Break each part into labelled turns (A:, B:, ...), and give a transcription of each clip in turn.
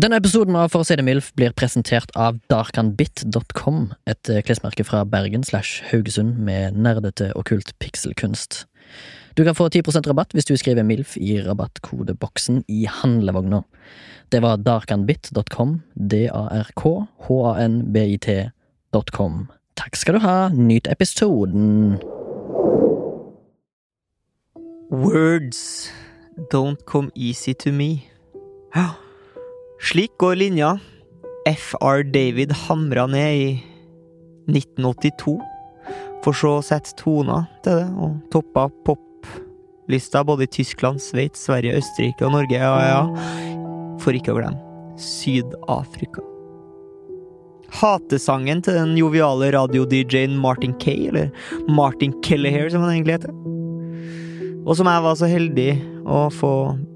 A: Denne episoden av For å si det mildt blir presentert av darkanbit.com, et eh, klesmerke fra Bergen slash Haugesund med nerdete okkult pikselkunst. Du kan få 10 rabatt hvis du skriver MILF i rabattkodeboksen i handlevogna. Det var darkanbit.com, d-a-r-k-h-a-n-b-i-t.com. Takk skal du ha, nyt episoden!
B: Words don't come easy to me. Ja. Slik går linja FR David hamra ned i 1982, for så å sette toner til det, og toppa poplista både i Tyskland, Sveits, Sverige, Østerrike og Norge, ja, ja, for ikke å glemme Syd-Afrika. Hatesangen til den joviale radio-DJ-en Martin Kay, eller Martin Kelleher, som han egentlig heter og som jeg var så heldig å få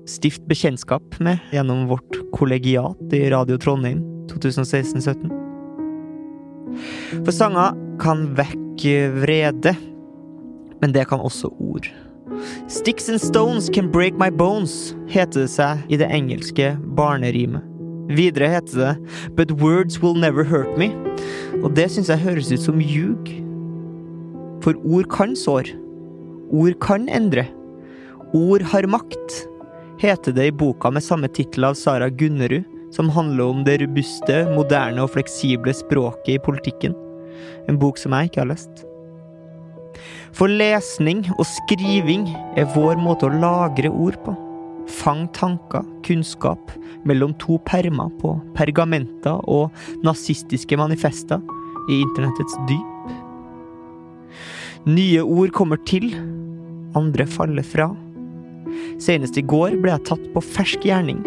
B: stift bekjentskap med gjennom vårt kollegiat i Radio Trondheim 2016-17. For sanger kan vekke vrede, men det kan også ord. Sticks and stones can break my bones, heter det seg i det engelske barnerimet. Videre heter det But words will never hurt me, og det syns jeg høres ut som ljug. For ord kan sår. Ord kan endre. Ord har makt, heter det i boka med samme tittel av Sara Gunnerud, som handler om det robuste, moderne og fleksible språket i politikken. En bok som jeg ikke har lest. For lesning og skriving er vår måte å lagre ord på. Fang tanker, kunnskap, mellom to permer på pergamenter og nazistiske manifester i internettets dyp. Nye ord kommer til, andre faller fra. Senest i går ble jeg tatt på fersk gjerning,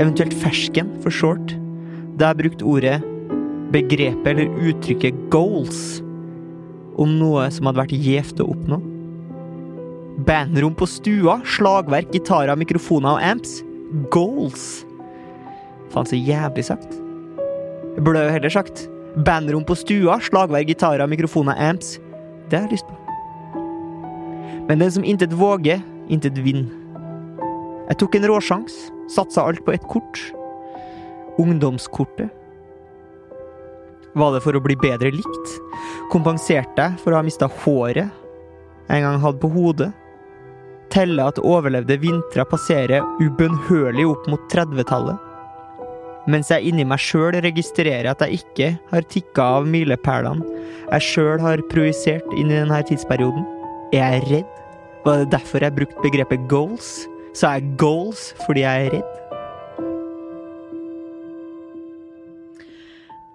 B: eventuelt fersken for short, da jeg brukte ordet, begrepet eller uttrykket goals om noe som hadde vært gjevt å oppnå. Bandrom på stua, slagverk, gitarer, mikrofoner og amps. Goals. Faen, så jævlig sagt. Jeg burde jo heller sagt bandrom på stua, slagverk, gitarer, mikrofoner, amps. Det har jeg lyst på. Men den som intet våger, intet vinner. Jeg tok en råsjans, satsa alt på ett kort. Ungdomskortet. Var det for å bli bedre likt? Kompenserte jeg for å ha mista håret jeg en gang hadde på hodet? Telle at overlevde vintrer passerer ubønnhørlig opp mot 30-tallet? Mens jeg inni meg sjøl registrerer at jeg ikke har tikka av milepælene jeg sjøl har projisert inn i denne tidsperioden. Er jeg redd? Var det derfor jeg brukte begrepet goals? Sa jeg goals fordi jeg er redd?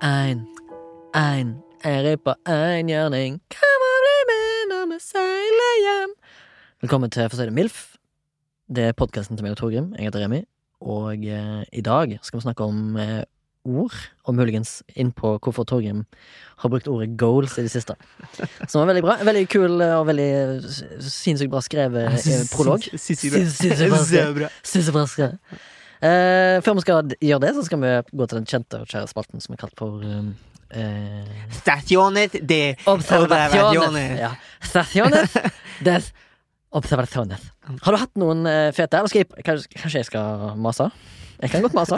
A: Ein, ein, jeg er på ein gjerning. Kan man bli med når vi seiler hjem? Velkommen til For å si det MILF. Det er podkasten til meg og Torgrim. Jeg heter Remi. Og eh, i dag skal vi snakke om eh, ord, og muligens inn på hvorfor Torgrim har brukt ordet goals i det siste. Som var veldig bra. Veldig kul eh, og veldig s- sinnssykt bra skrevet eh, prolog.
B: Sissy
A: Sinnssykt bra skrevet.
B: bra.
A: Synes det var skrevet. Eh, før vi skal d- gjøre det, så skal vi gå til den kjente og kjære spalten som er kalt for um, eh,
B: Stasjonet de
A: Observasjoner. Ja. Stasjoner des observasjoner. Har du hatt noen eh, fete? Eller skal jeg, kanskje, kanskje jeg skal mase? Jeg kan godt mase.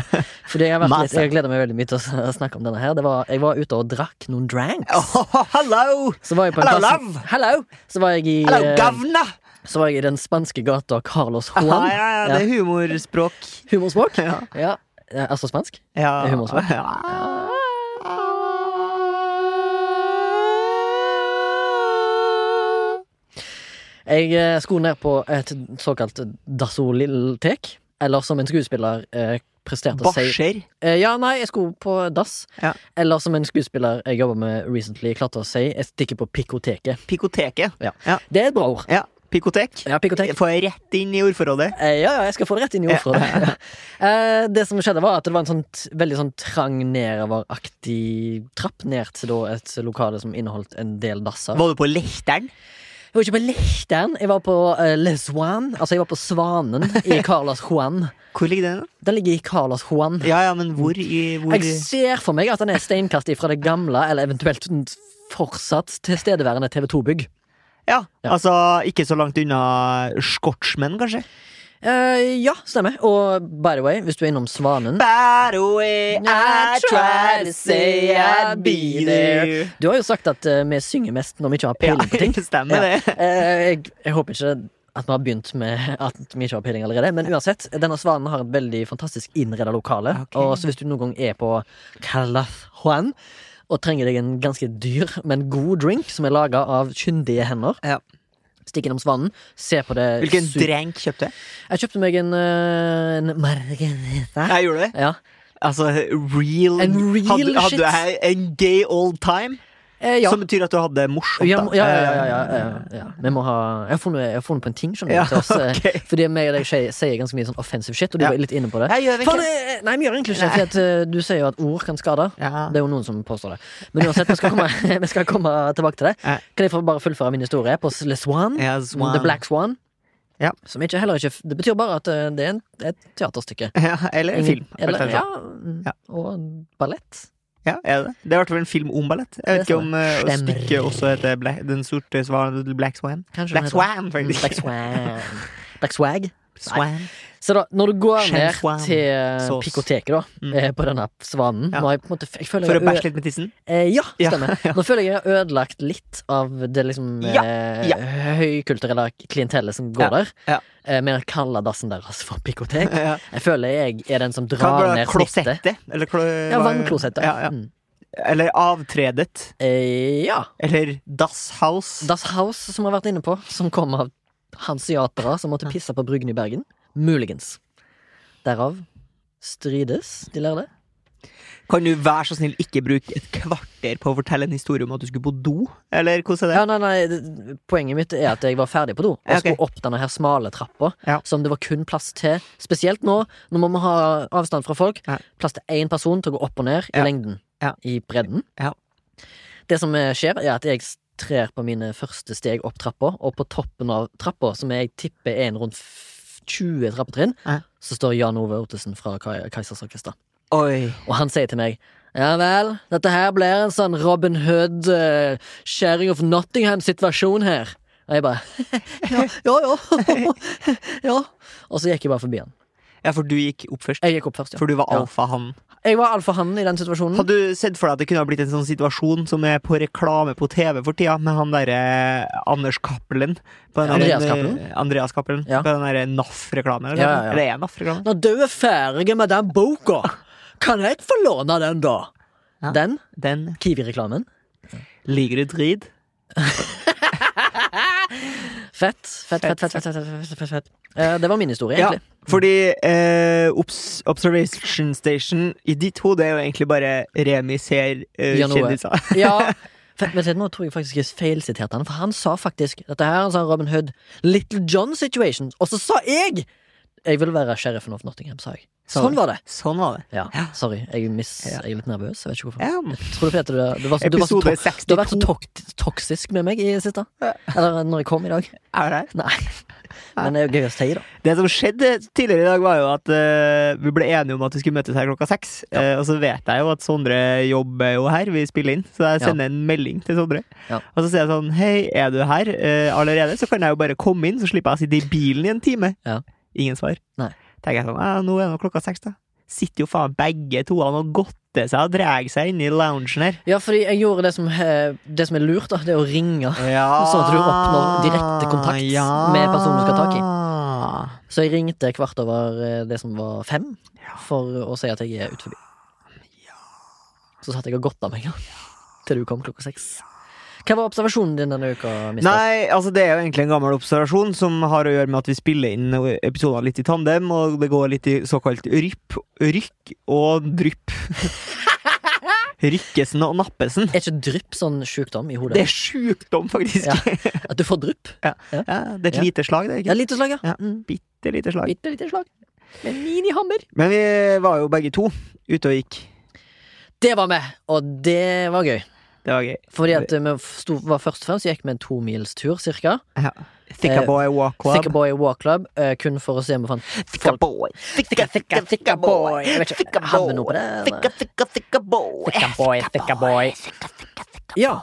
A: Fordi jeg, har vært litt,
B: Mase.
A: jeg gleder meg veldig mye til å s- snakke om denne her. Det var, jeg var ute og drakk noen dranks.
B: Oh, Hallo!
A: Så var jeg på en
B: Hello,
A: plass-
B: love.
A: Hello! Så var jeg i,
B: Hallo,
A: eh,
B: gavna!
A: så var jeg i den spanske gata Carlos Juan.
B: Ja, ja, ja, det er humorspråk.
A: Humorspråk.
B: Ja.
A: Ja. Eh, Altså spansk.
B: ja.
A: Det er humorspråk.
B: Ja.
A: Jeg eh, skulle ned på et såkalt dassoliltek, eller som en skuespiller eh, presterte å si
B: Barser.
A: eh, Ja, nei, jeg skulle på dass.
B: Ja.
A: Eller som en skuespiller jeg jobber med recently, klarte å si Jeg stikker på pikoteket.
B: Pikoteket.
A: Det er et bra ord.
B: Ja, pikotek.
A: Ja, pikotek.
B: Får jeg rett inn i ordforrådet?
A: Eh, Ja, ja, jeg skal få det rett inn i ordforrådet. Eh, Det som skjedde, var at det var en sånn t- veldig sånn trang nedoveraktig trapp ned til da et lokale som inneholdt en del dasser.
B: Var du på Lehteren?
A: Jeg var ikke på Lechteren, jeg var på eh, Le Swan. Altså, jeg var på Svanen i Carlas Juan.
B: Hvor ligger den?
A: Den ligger i Carlas Juan.
B: Ja, ja, men hvor i hvor
A: Jeg ser for meg at den er steinkast fra det gamle, eller eventuelt n- fortsatt tilstedeværende TV2-bygg.
B: ja,
A: Ja.
B: altså ikke så langt unna Scotsman, kanskje?
A: Eh, ja, stemmer. Og by the way, hvis du er innom Svanen
B: By the way,
A: I tried to say I'd be there. Du har jo sagt at eh, vi synger mest når vi ikke har
B: Ja,
A: peiling på ting.
B: det stemmer
A: Ja.
B: det.
A: Eh, jeg, jeg håper ikke at vi har begynt med at vi ikke har peiling allerede, men uansett. Denne svanen har et veldig fantastisk innreda lokale.
B: Ok.
A: Og så hvis du noen gang er på Calaf Juan og trenger deg en ganske dyr, men god drink som er laga av kyndige hender,
B: Ja.
A: stikk innom Svanen, se på det
B: Hvilken
A: su-
B: drenk kjøpte jeg?
A: Jeg kjøpte meg en, eh, en margarita.
B: Jeg gjorde det.
A: Ja.
B: Altså, real
A: En real
B: Hadde,
A: shit.
B: hadde jeg en gay old time?
A: Eh, ja.
B: Som betyr at du hadde det morsomt,
A: Ja,
B: da.
A: må- ja, ja, ja, ja, ja, Eh, ja. Vi må ha Jeg har funnet, jeg har funnet på en ting, skjønner du.
B: Ja,
A: til oss, eh,
B: ok.
A: Fordi meg og deg sier- sier ganske mye sånn offensive shit, og du
B: Ja.
A: var litt inne på det.
B: Jeg gjør
A: Faen,
B: ikke
A: eh, nei, vi gjør egentlig ikke det, for at, eh, du sier jo at ord kan skade.
B: ja.
A: Det er jo noen som påstår det. Men uansett, vi skal komme, vi skal komme tilbake til det.
B: Ja.
A: Kan jeg få bare fullføre min historie på Le Swan?
B: Ja, Swan.
A: The Black Swan.
B: Ja.
A: Som ikke, heller ikke Det betyr bare at eh, det er en, et teaterstykke.
B: Ja, eller en
A: Ingen-
B: film.
A: Eller,
B: rett og slett.
A: ja,
B: Ja.
A: Og ballett.
B: Ja, er det? det er i hvert fall en film om ballett. Jeg vet
A: Det sånn stemmer.
B: ikke om eh,
A: Stemmer.
B: stykket også heter Black, Den sorte svanen eller Black Swan.
A: Kanskje den
B: Black
A: heter-
B: Swan,
A: Mm,
B: faktisk.
A: Black Swan. Black Swag.
B: Swan.
A: Så da, når du går
B: Shan
A: ned
B: Swan.
A: til eh,
B: Sauce.
A: Pikoteket, da,
B: Mm.
A: eh, på denne svanen
B: Ja.
A: Nå har jeg på en måte jeg føler
B: For å
A: jeg har ø-
B: bæsje litt med tissen?
A: eh, Ja,
B: Ja,
A: stemmer. Nå føler jeg jeg har ødelagt litt av det liksom
B: Ja, ja.
A: eh, høykulturelle klientellet som går
B: Ja,
A: der.
B: ja.
A: Eh, med å kalle dassen deres for pikotek.
B: Ja.
A: Jeg føler jeg er den som
B: Hva
A: drar
B: var det?
A: ned snittet.
B: Klosettet? Eller klo...
A: Ja, vannklosettet.
B: Ja, ja.
A: Mm.
B: Eller avtredet.
A: Eh, ja.
B: Eller dasshals.
A: Das House, som vi har vært inne på, som kom av hanseatere som måtte pisse på Bryggen i Bergen. Muligens. Derav strides, de lærde.
B: Kan du være så snill ikke bruke et kvarter på å fortelle en historie om at du skulle på do? Eller hvordan er det?
A: Ja, nei, nei, det- poenget mitt er at jeg var ferdig på do. Og
B: Ja, ok.
A: skulle opp denne her smale trappa
B: Ja.
A: som det var kun plass til. Spesielt nå, nå må vi ha avstand fra folk.
B: Ja.
A: Plass til én person til å gå opp og ned i
B: Ja.
A: lengden.
B: Ja.
A: I bredden.
B: Ja.
A: Det som eh, skjer, er at jeg trer på mine første steg opp trappa, og på toppen av trappa, som jeg tipper er en rundt f- 20 trappetrinn,
B: Ja.
A: så står Jan Ove Ottesen fra Kai- Kaisers Orkester.
B: Oi.
A: Og han sier til meg Ja vel, dette her blir en sånn Robin Hood, eh, Sharing of Nottingham-situasjon her. Og jeg bare Ja, ja. Ja. ja. Og så gikk jeg bare forbi han.
B: Ja, for du gikk opp først.
A: Jeg gikk opp først, ja.
B: For du var
A: Ja.
B: alfahannen.
A: Jeg var alfahannen i den situasjonen.
B: Hadde du sett for deg at det kunne ha blitt en sånn situasjon som er på reklame på TV for tida, med han derre eh, Anders Cappelen? på den
A: Andreas
B: derre-
A: Cappelen?
B: Andreas Cappelen
A: Ja.
B: På den derre NAF-reklamen? Eller,
A: Ja, ja, ja.
B: eller er det NAF-reklame?
A: Når du er ferdig med den boka, kan jeg få låne den, da?
B: Ja.
A: Den
B: Den
A: Kiwi-reklamen.
B: ligger i drit.
A: Fett. Fett, fett, fett. fett, fett, fett, fett, fett. Eh, det var min historie,
B: Ja,
A: egentlig.
B: fordi eh, obs Observation Station i ditt hode er jo egentlig bare Remi ser eh,
A: Gjør noe.
B: kjendiser.
A: Ja, for, men se, nå tror jeg faktisk jeg feilsiterte han, for han sa faktisk Dette her, han sa Robin Hood, Little John situation, og så sa jeg Jeg vil være sheriffen of Nottingham, sa jeg.
B: Sa
A: Sånn
B: du.
A: var det.
B: Sånn var det.
A: Ja, sorry, jeg, miss, jeg er litt nervøs, jeg vet ikke hvorfor.
B: Ja,
A: Tror du Peter, du, du, var, så- du, var så
B: episode
A: tok- du har vært så
B: 62.
A: tok- toksisk med meg i det siste. Eller når jeg kom i dag.
B: Er det her?
A: Nei. Men det er jo gøy å si, da.
B: Det som skjedde tidligere i dag, var jo at eh, vi ble enige om at vi skulle møtes her klokka seks. Eh, og så vet jeg jo at Sondre jobber jo her, vi spiller inn, så jeg
A: Ja.
B: sender en melding til Sondre.
A: Ja.
B: Og så sier jeg sånn Hei, er du her eh, allerede? Så kan jeg jo bare komme inn, så slipper jeg å sitte i bilen i en time.
A: Ja.
B: Ingen svar.
A: Nei.
B: Tenker jeg sånn Ja, nå er det klokka seks, da. Sitter jo faen begge to han og godter seg og drar seg inn i loungen her.
A: Ja, fordi jeg gjorde det som, eh, det som er lurt, da. Det er å ringe. Sånn at du oppnår direkte kontakt med personen du skal ta tak
B: i.
A: Så jeg ringte kvart over eh, det som var fem, for å si at jeg er ute forbi. Så satt jeg og godta meg, da. Til du kom klokka seks. Hva var observasjonen din denne uka, mister?
B: Nei, altså det er jo egentlig en gammel observasjon som har å gjøre med at vi spiller inn episoder litt i tandem, og det går litt i såkalt rypp, rykk og drypp. Rykkesen og nappesen.
A: Er ikke drypp sånn sjukdom i
B: Det
A: hodet?
B: er sjukdom, faktisk.
A: Ja.
B: Ja.
A: At du får drypp?
B: det er et
A: Ja.
B: lite slag, det. er
A: Ja,
B: ikke?
A: lite slag, ja.
B: Ja.
A: Mm.
B: Bitte lite slag.
A: Bitte lite slag. Med en minihammer.
B: Men vi var jo begge to ute og gikk.
A: Det var med, og det var gøy.
B: Det var gøy.
A: Fordi at eh, vi sto, var først og fremst gikk vi en tomilstur, cirka.
B: Ja. Thicka
A: Eh,
B: boy walk club.
A: Thicker Boy Walk Club, eh, kun for å se om vi fant
B: Thicka boy. Thicka, thicka, thicka boy.
A: Jeg vet ikke,
B: Thicka
A: hadde vi noe på
B: boy.
A: det? eller?
B: Thicka, thicka, thicka boy.
A: Thicka boy, thicka boy. Ja.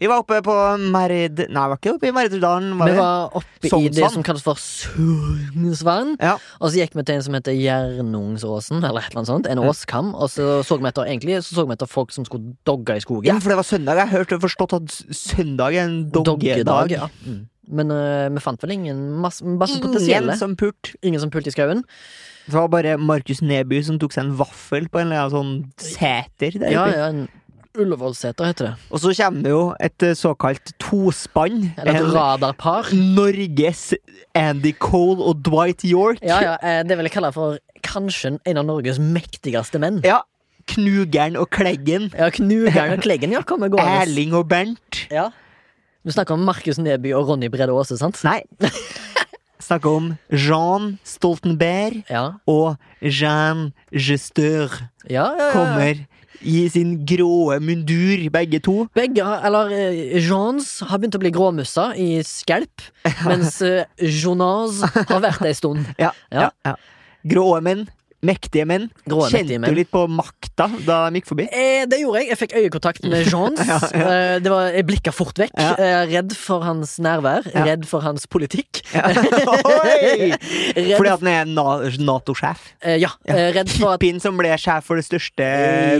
B: Vi var oppe på Merd... Nei, vi var ikke oppe i Maridalen. Var
A: Vi
B: vi?
A: var oppe i det
B: Sognsvann.
A: som kalles for Sognsvann.
B: Ja.
A: Og så gikk vi til en som heter Jernungsåsen, eller et eller annet sånt. En åskam. Og så så vi etter egentlig Så så vi etter folk som skulle dogge i skogen.
B: ja, for det var søndag. Jeg har hørt og forstått at s- søndag er en doggedag.
A: Doggedag, ja. Mm. Men øh, vi fant vel ingen masse, masse
B: Ingen
A: potensielle.
B: Mm, som pult.
A: Ingen som pulte i skauen.
B: Det var bare Markus Neby som tok seg en vaffel på en eller annen sånn seter. Der,
A: Ja,
B: oppe.
A: ja, en Ullevålseter heter det.
B: Og så kommer det jo et eh, såkalt tospann.
A: Eller et
B: En-
A: radarpar.
B: Norges Andy Cole og Dwight York.
A: Ja, ja, eh, det vil jeg kalle for kanskje en av Norges mektigste menn.
B: Ja, Knugeren og Kleggen.
A: Ja, Knugeren og Kleggen, ja, kommer gående.
B: Erling og Bernt.
A: Ja. Du snakker om Markus Neby og Ronny Brede Aase, sant?
B: Nei. Snakke om Jean Stoltenberg
A: Ja.
B: og Jean Gesteur
A: Ja, ja, ja.
B: kommer i sin gråe mundur, begge to.
A: Begge, har- eller eh, Jeans har begynt å bli gråmussa i skjelp, mens eh, Jonas har vært det en stund.
B: Ja,
A: Ja.
B: ja. ja. Gråe menn. Mektige menn.
A: Gråe,
B: Kjente
A: mektige menn.
B: du litt på makta da de gikk forbi?
A: Eh, det gjorde jeg. Jeg fikk øyekontakt med Johns. eh, det var, jeg blikka fort vekk.
B: Ja.
A: Eh, redd for hans nærvær.
B: Ja.
A: Redd for hans politikk.
B: Oi!
A: Redd,
B: Fordi at han er na- Nato-sjef.
A: eh, ja, eh, redd for at
B: Pippin som ble sjef for det største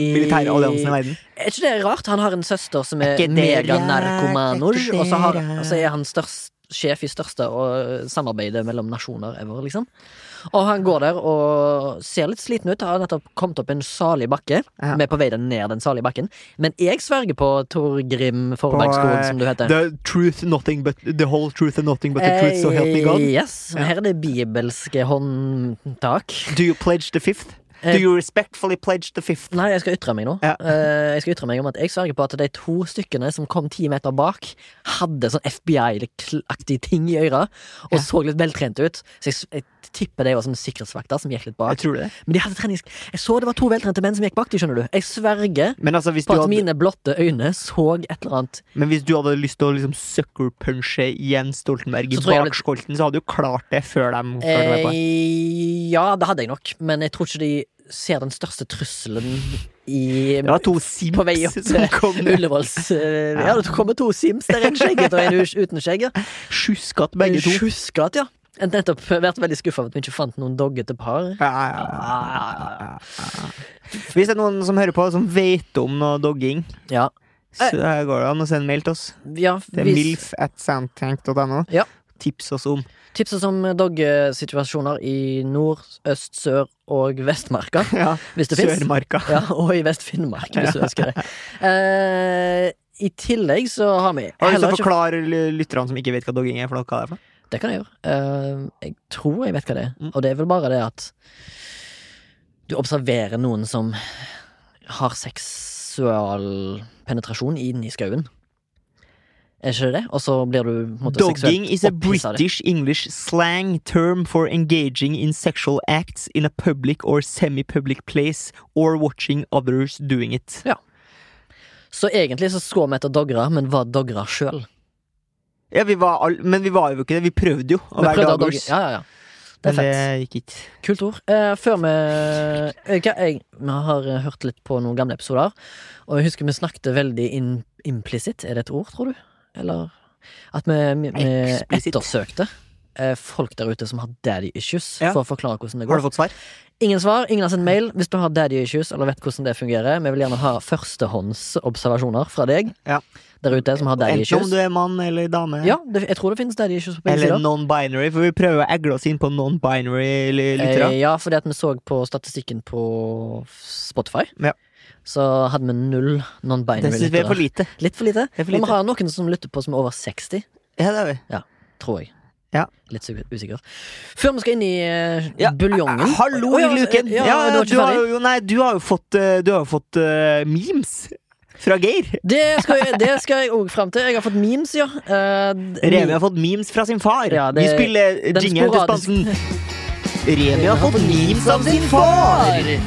B: militære alliansen i verden.
A: Er ikke det rart? Han har en søster som
B: Er
A: er
B: ikke det
A: meganarkomanor,
B: rart? Er ikke
A: og så, har,
B: det
A: og så er han størst, sjef i største og eh, samarbeidet mellom nasjoner ever, liksom. Og han går der og ser litt sliten ut. Har nettopp kommet opp en salig bakke.
B: Ja.
A: Vi er på vei ned den salige bakken. Men jeg sverger på Torgrim
B: På,
A: Forbergskogen,
B: eh,
A: som du heter.
B: The truth, nothing but The whole truth and nothing but the truth, so help me
A: Eh,
B: God.
A: Yes,
B: Ja.
A: Her er det bibelske håndtak.
B: Do you pledge the fifth? Do
A: Eh,
B: you respectfully pledge the fifth?
A: Nei, jeg skal ytre meg nå.
B: Ja.
A: Eh, jeg skal ytre meg om at jeg sverger på at de to stykkene som kom ti meter bak, hadde sånn FBI-aktig ting i øra, og
B: Ja.
A: så litt veltrente ut. Så jeg, s- jeg tipper de var sånne sikkerhetsvakter som gikk litt
B: Jeg
A: bak.
B: tror det.
A: Men de hadde trenings... Jeg så det var to veltrente menn som gikk bak de, skjønner du. Jeg sverger
B: Men altså, hvis du
A: på at
B: hadde,
A: mine blotte øyne så et eller annet
B: men hvis du hadde lyst til å liksom sucker punche Jens Stoltenberg i
A: Så tror jeg det-
B: bakskolten, så hadde du klart det før de klarte å være på.
A: eh, Ja, det hadde jeg nok, men jeg tror ikke de ser den største trusselen i
B: Det var to
A: på vei opp
B: simps som
A: til
B: kom
A: Ullevåls eh, Ja, det kommer to sims der, en skjegget og en us- uten skjegg. ja.
B: sjuskatt, begge to.
A: Sjuskat, ja. Jeg har nettopp vært veldig skuffa over at vi ikke fant noen doggete par.
B: Ja, ja, ja, ja, ja. Hvis det er noen som hører på, som vet om noe dogging,
A: Ja,
B: så går det an å sende mail til oss.
A: ja
B: Det er
A: Eh. hvis-
B: milf at soundtank.no.
A: Ja.
B: Tips oss om.
A: Tips oss om doggesituasjoner i nord, øst, sør og Vestmarka,
B: Ja,
A: hvis det fins.
B: Sørmarka.
A: Ja, og i Vest-Finnmark, hvis du ønsker det. Eh, I tillegg så har vi
B: Har du
A: heller
B: lyst til å
A: ikke
B: forklare l- lytterne som ikke vet hva dogging er? For noe, hva det er for noe?
A: Det kan jeg gjøre. Eh, jeg tror jeg vet hva det er.
B: Mm.
A: Og det er vel bare det at du observerer noen som har seksual penetrasjon inni skauen. Er ikke det det? Og så blir du på en måte,
B: Dogging
A: seksuelt
B: is a
A: opphisset av det.
B: British English slang term for engaging in sexual acts in a public or semi-public place or watching others doing it.
A: Så egentlig så skår vi etter doggere, men var doggere sjøl.
B: Ja, vi var all, Men vi var jo ikke det. Vi prøvde jo å
A: Vi
B: være
A: prøvde å dogge-
B: doggers.
A: Ja, ja, ja. Det er
B: men eh,
A: fett.
B: det gikk ikke.
A: Kult ord. Eh, før vi eh, hva jeg, Vi har eh, hørt litt på noen gamle episoder, og jeg husker vi snakket veldig in, implisitt. Er det et ord, tror du? Eller at vi, vi, vi
B: Eksplisitt.
A: ettersøkte eh, folk der ute som har daddy issues,
B: Ja.
A: for å forklare hvordan det
B: Har
A: går.
B: du fått svar?
A: Ingen svar, ingen har sendt mail hvis du har daddy issues eller vet hvordan det fungerer. Vi vil gjerne ha førstehåndsobservasjoner fra deg
B: Ja.
A: der ute som har daddy
B: Enten om
A: issues.
B: du er mann eller dame.
A: Ja, det, jeg tror det finnes daddy issues på begge
B: Eller
A: sider.
B: non-binary, for vi prøver å egle oss inn på non-binary li- lyttere.
A: Eh, ja, fordi at vi så på statistikken på Spotify.
B: Ja.
A: Så hadde vi null
B: Det
A: non-binary
B: syns vi er for
A: lyttere.
B: lite.
A: Litt for lite.
B: Det er for
A: Men
B: lite.
A: vi har noen som lytter på som er over 60,
B: Ja, det er vi.
A: tror jeg.
B: Ja.
A: Litt så usikker. Før vi skal inn i eh,
B: Ja, Ah,
A: buljongen
B: Hallo
A: Å, ja,
B: i luken!
A: Ja,
B: Ja,
A: du var
B: du,
A: ikke
B: har
A: ferdig.
B: jo, nei, du har jo fått, eh, du har jo fått eh, memes fra Geir.
A: Det skal jeg- det skal jeg òg fram til. Jeg har fått memes, ja. Eh, d-
B: Remi har fått memes fra sin far.
A: Ja,
B: Vi
A: det-
B: spiller
A: den
B: jingelen til
A: sporadiske-
B: spansen. Remi har fått memes av sin far!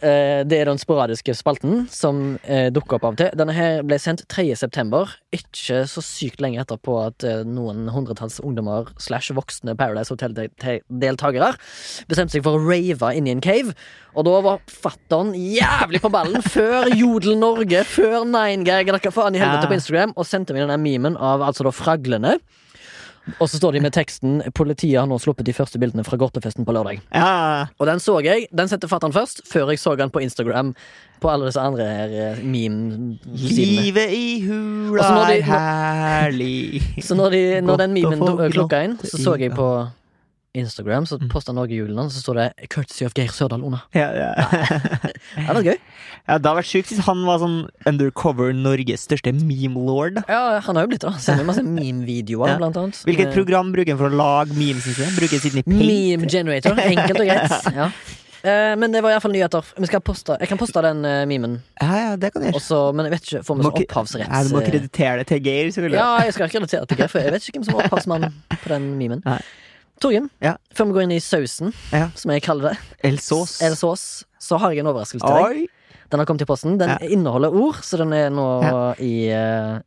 A: Eh, Det er den sporadiske spalten som eh, dukker opp av og til. Denne her ble sendt 3. september, ikke så sykt lenge etterpå at eh, noen hundretalls ungdommer slash voksne Paradise Hotel-deltakere bestemte seg for å rave inn i en cave. Og da var fattern jævlig på ballen før Jodel Norge, før Nine Gag, dere faen i helvete
B: Ja.
A: på Instagram, og sendte meg denne memen av altså da fraglene. Og så står de med teksten 'Politiet har nå sluppet de første bildene fra godtefesten på lørdag'.
B: Ja, ja,
A: Og den så jeg. Den sendte fattern først, før jeg så den på Instagram. På alle disse andre her eh, meme-sidene.
B: Livet i
A: Og
B: hula
A: så når de-
B: er herlig.
A: Så når, de, når den
B: Godt å
A: memen
B: få
A: do- klokka inn,
B: glatt
A: så så jeg
B: i-
A: på Instagram, så
B: Mm.
A: posta Norge julen hans, så står det 'Courtesy of Geir Sørdal Ona'.
B: ja, ja.
A: Ja, det er gøy.
B: ja, Det hadde vært sjukt hvis han var sånn undercover Norges største meme-lord. da.
A: Ja, han har jo blitt det. Sender masse meme-videoer,
B: Ja.
A: blant annet.
B: Hvilket
A: Eh,
B: program bruker han for å lage memes? synes jeg? Bruker Sidney Payne?
A: Meme generator. Enkelt og greit. Ja. Eh, Men det var iallfall nyheter. Vi skal poste, jeg kan poste den eh, memen,
B: Ja, ja, det kan jeg gjøre.
A: også, men jeg vet ikke. Får vi
B: Må
A: så
B: ikke-
A: opphavsrett?
B: Ja, du må
A: eh,
B: kreditere det til Geir, selvfølgelig.
A: Ja, jeg skal ikke relatere til det, for jeg vet ikke hvem som var opphavsmann på den memen.
B: Nei.
A: Torgrim,
B: Ja.
A: før vi går inn i sausen,
B: Ja.
A: som jeg kaller det,
B: Elsås.
A: eller sås, så har jeg en overraskelse til deg.
B: Oi!
A: Den har kommet i posten. Den
B: Ja.
A: inneholder ord, så den er nå i eh,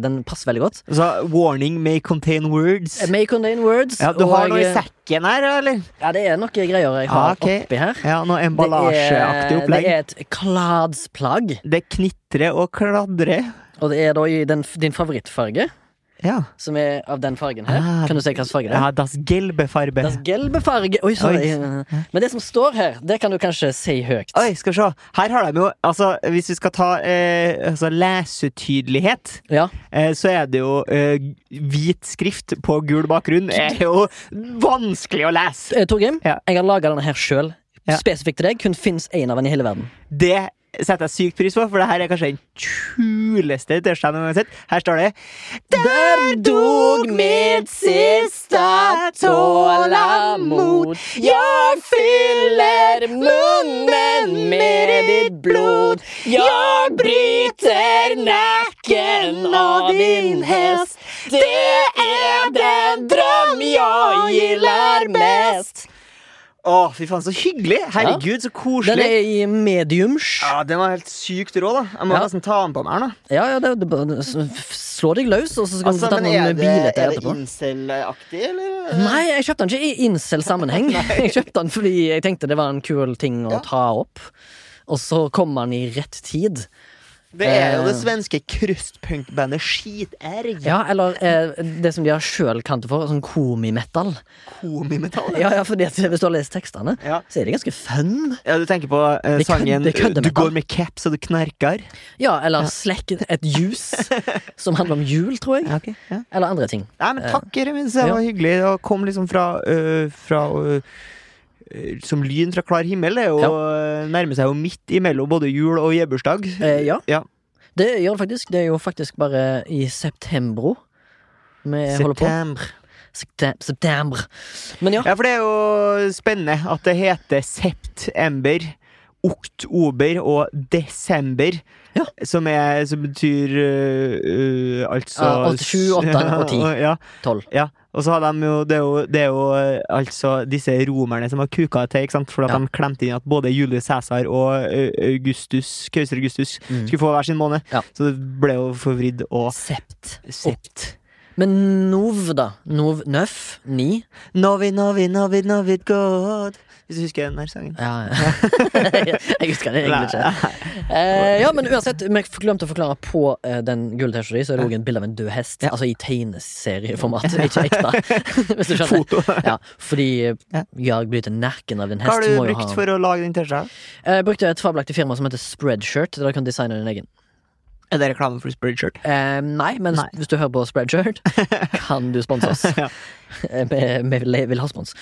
A: Den passer veldig godt.
B: Så warning may contain words.
A: Eh, May contain words.
B: Ja, Du har
A: og,
B: noe i
A: eh,
B: sekken her, eller?
A: Ja, det er noen greier jeg har
B: Ah, ok.
A: oppi her.
B: Ja, Noe
A: Det
B: emballasjeaktig
A: er, det
B: opplegg.
A: er et kladsplagg,
B: Det knitrer og kladrer.
A: og det er da i den, din favorittfarge,
B: Ja.
A: som er av den fargen her.
B: Ah,
A: kan du se hvilken farge det er?
B: ja, das gelbefarbe.
A: Das gelbe farge Oi, sorry.
B: Oi.
A: Men det som står her, det kan du kanskje si høyt.
B: Oi, skal vi se. Her har de jo Altså, hvis vi skal ta eh, altså, lesetydelighet,
A: Ja.
B: eh, så er det jo eh, hvit skrift på gul bakgrunn er jo vanskelig å lese.
A: Eh, Torgrim,
B: Ja.
A: jeg har laga denne her sjøl.
B: Ja.
A: Spesifikt til deg. Kun fins én av den i hele verden.
B: Det setter jeg sykt pris på, for det her er kanskje den kuleste tørsta jeg noen gang har sett. Her står det Der dog mitt siste tålamod. Jeg fyller munnen med ditt blod. Jeg bryter nakken av din hest. Det er den drøm jeg gilder mest. Å, fy faen, så hyggelig! Herregud, så
A: Den
B: koselig.
A: er i mediums.
B: Ja, Den var helt sykt rå, da. Jeg må
A: Ja.
B: nesten ta den på meg her, da.
A: Ja, ja, det, det, bare- s- f- slå deg løs, og så skal
B: Altså,
A: du få ta
B: men er
A: noen
B: det,
A: bilder
B: er det
A: etterpå.
B: incel-aktig, eller?
A: Nei, jeg kjøpte den ikke i incel-sammenheng. jeg kjøpte den fordi jeg tenkte det var en kul ting å
B: Ja.
A: ta opp. Og så kom den i rett tid.
B: Det er jo
A: Eh.
B: det svenske krustpunkbandet Skiterg.
A: Ja, eller eh, det som de har sjøl kalt det for, sånn komimetal.
B: Komimetall. Ja.
A: Ja, ja, fordi at hvis du har lest tekstene,
B: Ja.
A: så er de ganske fun.
B: ja, du tenker på eh,
A: Det kødder-
B: sangen
A: det kødder
B: 'Du
A: med
B: går med caps og du knerker'?
A: Ja, eller slekk et ljus, som handler om jul, tror jeg.
B: Ja, ok, ja.
A: Eller andre ting.
B: Nei, men
A: Eh,
B: takk, Remin. Det var hyggelig. Det kom liksom fra, øh, fra øh, øh, Som lyn fra klar himmel. Det er jo, øh, nærmer seg jo midt imellom både jul og gjebbursdag.
A: Eh, ja.
B: Ja.
A: det gjør det faktisk. Det er jo faktisk bare i septembro vi eh, holder på.
B: September.
A: Septem- September. Men ja,
B: Ja, for det er jo spennende at det heter september, oktober og desember.
A: Ja.
B: Som, er, som betyr øh, øh, altså
A: Ja, åtte, sju, åtte og ti.
B: Ja,
A: tolv.
B: ja. Og så har de jo Det er jo, det er jo øh, altså disse romerne som har kuka det til, ikke sant? fordi at
A: Ja.
B: de klemte inn at både Julius Cæsar og øh, Augustus, keiser Augustus
A: Mm.
B: skulle få hver sin måned.
A: Ja.
B: Så det ble jo forvridd og
A: Sept.
B: sept.
A: Men nov, da. Nov, nøff, ni.
B: Novi, novi, novi, novi, god Hvis du husker den der sangen.
A: Ja, ja. jeg husker det egentlig ikke. Eh, ja, men uansett, vi glemte å forklare på eh, den gule T-skjorta di, så er det òg et bilde av en død hest. Altså i tegneserieformat, ikke ekte. Hvis du skjønner.
B: Foto.
A: Ja, fordi eh,
B: Ja.
A: jeg bryter nakken av din hest.
B: Hva har du
A: må jo
B: brukt
A: ha- Eh,
B: for å lage den T-skjorta?
A: Jeg brukte et fabelaktig firma som heter Spreadshirt. Der du kan designe din egen.
B: Er det reklame for Spreadshirt?
A: Eh, nei, men
B: Nei.
A: hvis du hører på Spreadshirt, kan du sponse oss.
B: Ja.
A: Eh, Vi vi vil ha spons.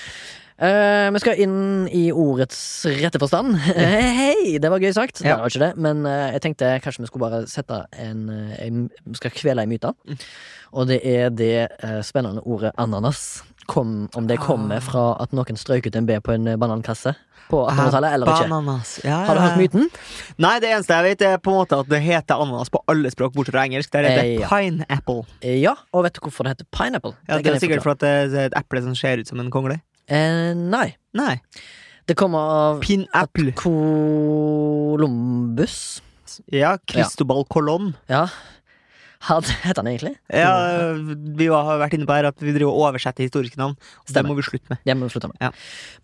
A: Eh, vi skal inn i ordets rette forstand. Eh, Hei, det var gøy sagt.
B: Ja.
A: Det var ikke det, men eh, jeg tenkte kanskje vi skulle bare sette en, eh, en Vi skal kvele en myte.
B: Mm.
A: Og det er det eh, spennende ordet ananas. Kom, om det
B: Ah.
A: kommer fra at noen strøk ut en B på en eh, banankasse på 1800-tallet, eller ikke.
B: Bananas. Ja,
A: Har du
B: ja,
A: hørt
B: ja.
A: myten?
B: Nei, det eneste jeg vet, er på en måte at det heter ananas på alle språk, bortsett fra engelsk. Der heter
A: Eh,
B: det
A: ja.
B: pineapple.
A: Eh, Ja, og vet du hvorfor det heter pineapple?
B: Ja,
A: Det
B: det
A: kan
B: er
A: jeg
B: sikkert
A: forklare.
B: fordi det er et eple som ser ut som en kongle.
A: Eh, Nei.
B: Nei.
A: Det kommer av
B: Pineapple.
A: Columbus.
B: Ja, Cristobal Colón.
A: Ja. Had, heter han egentlig?
B: Ja, øh. vi har vært inne på her at vi driver og oversetter historiske navn. og Det
A: Stemmer.
B: må vi slutte med.
A: Det må vi slutte med.
B: Ja.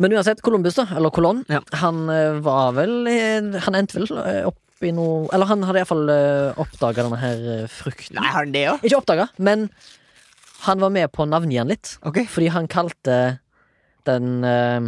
A: Men uansett, Columbus, da, eller Colon,
B: Ja.
A: han eh, var vel eh, Han endte vel eh, opp i noe Eller han hadde iallfall oppdaga denne her eh, frukten.
B: Nei, har den det òg?
A: Ikke oppdaga, men han var med på å navngi han litt.
B: Ok.
A: Fordi han kalte den eh,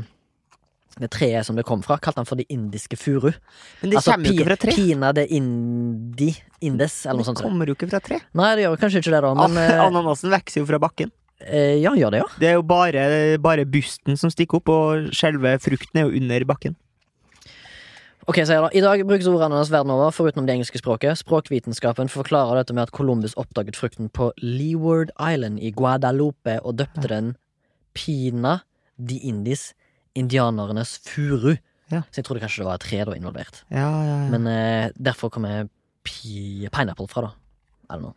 A: det treet som det kom fra, kalte han for de indiske furu. Altså
B: Men det kommer jo ikke fra tre.
A: Pina de indi indes, eller noe
B: Det
A: sånt.
B: kommer jo ikke fra tre.
A: Nei, det gjør kanskje ikke det, da, men
B: An-
A: eh,
B: Ananasen vokser jo fra bakken.
A: eh, Ja, gjør det, ja.
B: Det er jo bare, bare busten som stikker opp, og selve frukten er jo under bakken.
A: Ok, sier jeg da. I dag brukes ordene hans verden over, foruten om det engelske språket. Språkvitenskapen forklarer dette med at Columbus oppdaget frukten på Leeward Island i Guadalupe og døpte den Pina de Indies, indianernes furu.
B: Ja.
A: Så jeg trodde kanskje det var et tre da involvert.
B: Ja, ja, ja.
A: Men eh, derfor kommer pi pineapple fra, da. I don't know.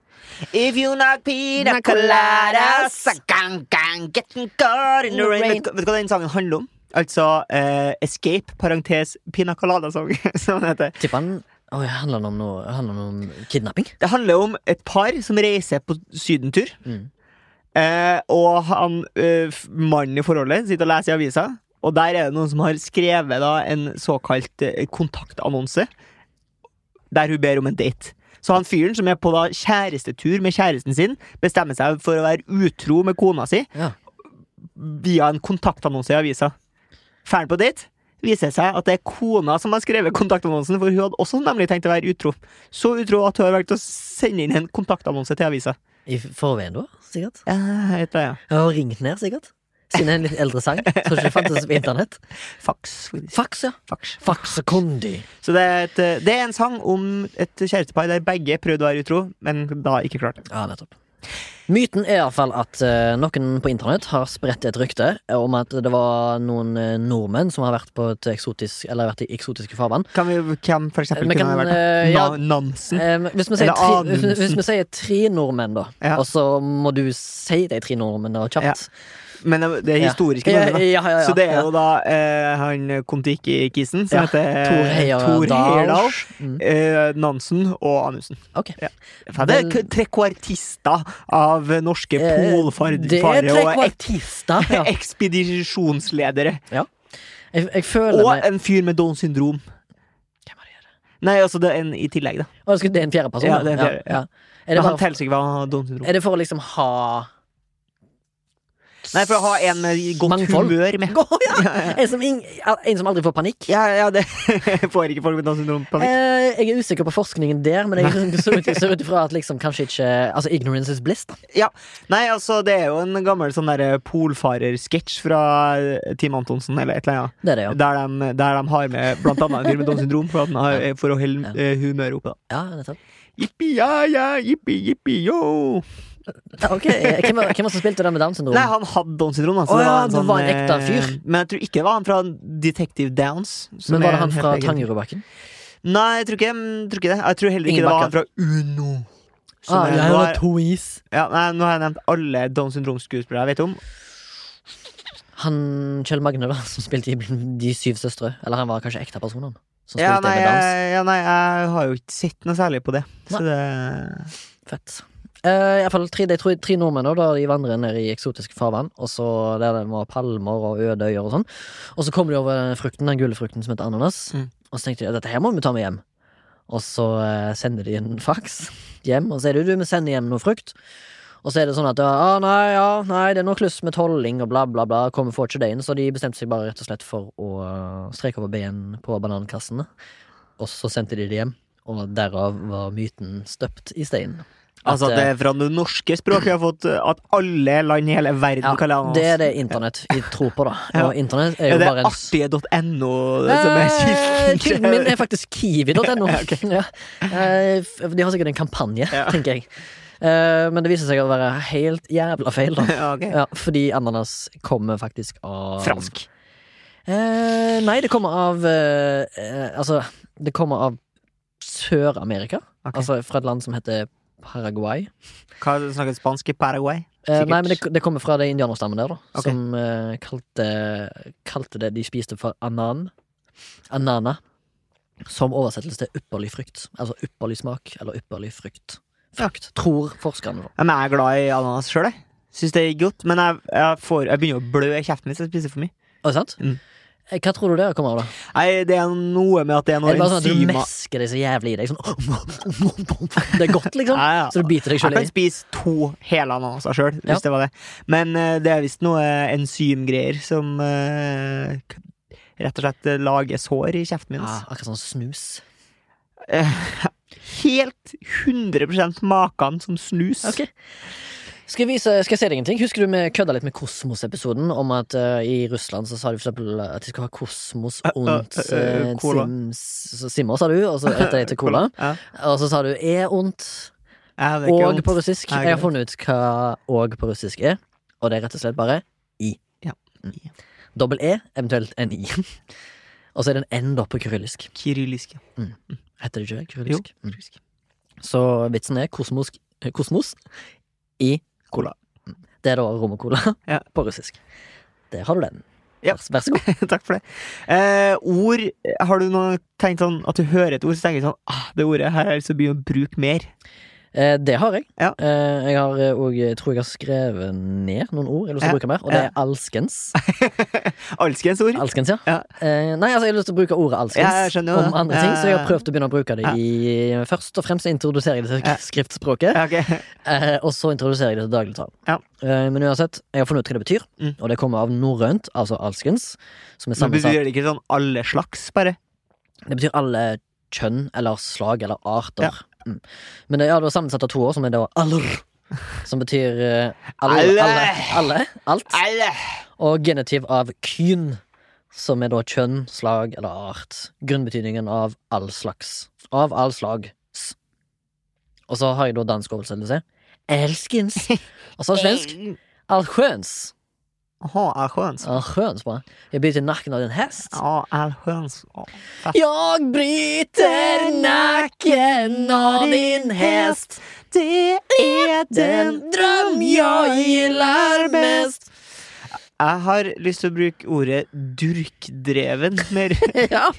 B: If you not pina
A: coladas, I
B: can, can get caught
A: in the rain.
B: Vet, du hva den sangen handler om? Altså eh, Escape, parentes pina colada-sang, som den heter.
A: Tipper han Oi, handler det om noe Handler det om kidnapping?
B: Det handler om et par som reiser på sydentur.
A: Mm.
B: Eh, og han, eh, f- mannen i forholdet sitter og leser i avisa, og der er det noen som har skrevet da, en såkalt eh, kontaktannonse, der hun ber om en date. Så han fyren som er på da kjærestetur med kjæresten sin, bestemmer seg for å være utro med kona si
A: Ja.
B: via en kontaktannonse i avisa. Ferdig på date viser det seg at det er kona som har skrevet kontaktannonsen, for hun hadde også nemlig tenkt å være utro. Så utro at hun har valgt å sende inn en kontaktannonse til avisa.
A: I forveien, da? Sikkert?
B: Ja, jeg vet det, ja.
A: Ja, Og ringt ned, sikkert? Siden det er en litt eldre sang. Tror ikke det fantes på internett.
B: Fax. faktisk.
A: Fax, ja.
B: Fax.
A: Faksekondi.
B: Så det er, et, eh, det er en sang om et kjærestepar der begge prøvde å være utro, men da ikke klarte det.
A: Ja, nettopp. Myten er iallfall at eh, noen på internett har spredt et rykte om at det var noen eh, nordmenn som har vært, på et eksotisk, eller vært i eksotiske farvann.
B: Kan vi, hvem for eksempel
A: Vi
B: kunne
A: kan,
B: ha vært
A: eh, ja.
B: Na- Nansen?
A: Eh, hvis, vi sier
B: Mm. Eller
A: tre,
B: Amundsen.
A: hvis, hvis vi sier tre nordmenn, da,
B: Ja.
A: og så må du si de tre nordmennene
B: Ja.
A: kjapt
B: Men det er
A: Ja.
B: historiske
A: ja,
B: navn, da.
A: ja, ja, ja,
B: Så det er
A: ja.
B: jo da eh, han Kon-Tiki-kisen, som
A: Ja.
B: heter eh,
A: Thor
B: Thor Heyerdahl,
A: Heyerdahl. Mm,
B: eh, Nansen og Anundsen.
A: ok.
B: Faen, Det er
A: Vel-
B: k- trekvartister av norske
A: Eh, Det er
B: polfarere
A: tre
B: og ek
A: kvartister. Ja.
B: ekspedisjonsledere.
A: Jeg, jeg føler
B: Og
A: meg
B: en fyr med Downs syndrom.
A: Hvem er det?
B: Nei, altså det er en i tillegg, da.
A: Å, skulle- det er en fjerde person?
B: Ja,
A: da?
B: det er en fjerde, ja.
A: Er, det
B: Men han
A: bare,
B: teller seg ikke hva han har Downs syndrom.
A: er det for å liksom ha
B: Nei, for å ha en eh, med godt
A: Mangfold?
B: humør med.
A: Gå, ja. en, som ing, en som aldri får panikk?
B: Ja, ja, det får ikke folk med Downs syndrom panikk.
A: Eh, jeg er usikker på forskningen der, men jeg ser ut, ser ut ifra at liksom kanskje ikke Altså, ignorance is bliss, da.
B: Nei, altså, det er jo en gammel sånn derre polfarersketsj fra Team Antonsen, eller et eller annet.
A: Det er det, ja.
B: Der de, der de har med blant annet en fyr med Downs syndrom for, at han har, for å
A: Ja.
B: holde eh, humøret oppe. da.
A: ja nettopp.
B: Jippi, ja, ja, jippi, jippi, yo.
A: Ja, Ok, eh, Hvem var hvem var det som spilte den med Downs syndrom?
B: Nei, han hadde Downs syndrom. da, så
A: Å ja,
B: en
A: det var en ekte
B: eh,
A: fyr.
B: Men jeg tror ikke det var han fra Detective Downs. som
A: men var
B: er
A: det han
B: en helt
A: fra
B: egen-
A: Tangerudbakken?
B: Nei, jeg tror ikke, jeg tror ikke det. Jeg tror heller ikke det var han fra Uno. som
A: Ah,
B: er-
A: jeg
B: nå,
A: har
B: er,
A: to is.
B: ja, nei, nå har jeg nevnt alle Downs syndrom-skuespillere jeg vet om.
A: Han Kjell Magne, da, som spilte i De syv søstre. Eller han var kanskje ekte person, han. Som spilte
B: Ja nei,
A: med Downs.
B: jeg, ja, nei, jeg har jo ikke sett noe særlig på det. Så det
A: Fett. Uh, Iallfall tre, de tror- tre nordmenn, da, de vandrer ned i eksotiske farvann. Og så der det var palmer og øde øyer og sånn. Og så kom de over den frukten, den gule frukten som heter ananas.
B: Mm.
A: Og så tenkte de dette her må vi ta med hjem. Og så eh, sender de en faks hjem, og så er det du, vi sender hjem noe frukt. Og så er det sånn at ah, nei, ja, nei, det er noe kluss med tolling og bla, bla, bla. Kommer får ikke det inn, så de bestemte seg bare rett og slett for å eh, streke over ben på banankassene. Og så sendte de det hjem, og derav var myten støpt i steinen.
B: Altså at det
A: eh,
B: er fra det norske språket vi har fått eh, at alle land i hele verden
A: ja,
B: kaller han oss.
A: det er det internett vi tror på, da.
B: Ja.
A: Og internett er
B: Er
A: jo
B: det
A: bare en
B: artige.no som er sånn
A: Eh,
B: kilden? til-
A: Kilden min er faktisk kiwi.no. ja. Eh, f- De har sikkert en kampanje,
B: Ja.
A: tenker jeg. Eh, Men det viser seg å være helt jævla feil, da.
B: Ja, ok.
A: Ja, fordi ananas kommer faktisk av
B: Fransk.
A: Eh, nei, det kommer av eh, eh, Altså, det kommer av Sør-Amerika.
B: Ok.
A: Altså fra et land som heter Paraguay.
B: Hva snakker spansk i Paraguay?
A: Eh,
B: Sikkert.
A: nei, men det, det kommer fra den indianerstammen der, da.
B: Ok.
A: Som eh, kalte, kalte det de spiste for anan. Anana. Som oversettelse til ypperlig frukt. Altså ypperlig smak, eller ypperlig frukt. Frukt, tror forskerne, da.
B: Men jeg er glad i ananas sjøl, jeg. Syns det er godt, men jeg, jeg, får, jeg begynner å blø i kjeften hvis jeg spiser for mye.
A: Er det sant?
B: Mm.
A: Eh, Hva tror du det kommer av, da?
B: Nei, det er noe med at det er
A: Er
B: noen
A: det bare sånn at du
B: enzymer
A: mesker det så jævlig i deg? Sånn Det er godt, liksom?
B: Ja, ja.
A: Så du biter deg
B: Jeg
A: sjøl i?
B: kan spise to hele ananaser sjøl, hvis
A: Ja.
B: det var det. Men eh, det er visst noe enzymgreier som eh, k- rett og slett eh, lager sår i kjeften min.
A: Ja,
B: ass.
A: akkurat sånn snus.
B: Helt 100 makan som snus.
A: Ok. Skal jeg, vise, skal jeg se deg en ting? Husker du vi kødda litt med Kosmos-episoden? Om at eh, i Russland så sa de for eksempel at de skulle ha Kosmos ondt
B: eh, eh,
A: eh,
B: cola.
A: Sims så Simmer, sa du, og så etter det til Cola.
B: Ja.
A: Og så sa du er ondt,
B: Ja, det er ikke
A: og
B: vondt.
A: på russisk.
B: Ja,
A: Jeg har
B: greit.
A: funnet ut hva og på russisk er, og det er rett og slett bare i.
B: Ja.
A: Mm. Dobbel e, eventuelt en i. Og så er det en n da på kyrillisk.
B: Kyrillisk. ja.
A: Heter det ikke det? Kyrillisk? Mm. Så vitsen er kosmos, kosmos i cola. Det er da rom og cola
B: Ja.
A: på russisk. Der har du den.
B: Ja.
A: Vær, vær så god.
B: Takk for det. Eh, ord Har du noe tenkt sånn at du hører et ord, så tenker du sånn ah, Det ordet her har jeg lyst til å begynne å bruke mer.
A: Eh, det har jeg.
B: Ja.
A: Eh, jeg har eh, og jeg tror jeg har skrevet ned noen ord jeg har lyst til
B: Ja.
A: å bruke mer, og det er alskens.
B: Alskens ord.
A: Alskens, ja.
B: Ja.
A: Eh, nei, altså jeg har lyst til å bruke ordet alskens
B: Ja, jeg skjønner jo det.
A: om andre ting, så jeg har
B: Ja.
A: prøvd å begynne å bruke det
B: Ja.
A: i Først og fremst introduserer jeg det
B: Ja.
A: til skriftspråket.
B: Ja, ok.
A: Eh, og så introduserer jeg det til dagligtall.
B: Ja.
A: Eh, men uansett, jeg har funnet ut hva det betyr,
B: Mm.
A: og det kommer av norrønt, altså alskens. Som er
B: Men
A: sammensatt.
B: betyr det ikke sånn alle slags, bare?
A: Det betyr alle kjønn eller slag eller arter.
B: Ja.
A: Mm. Men det, ja, det var sammensatt av to ord, som er da aller. Som betyr eh, alle,
B: Alle!
A: alle, alle, alt.
B: Alle!
A: Og genitiv av kyn, som er da kjønn, slag eller art. Grunnbetydningen av all slags. Av all slags. Og så har jeg da dansk oversettelse. Elskens. Og så svensk. Allsköns.
B: Aha, allsköns.
A: Allsköns bara. Jag bryter nacken av en häst.
B: Ja, allsköns. Ja, fast-
A: Jag bryter nacken av din häst.
B: Det er
A: Den dröm jag gillar mest.
B: Jeg har lyst til å bruke ordet durkdreven mer.
A: ja.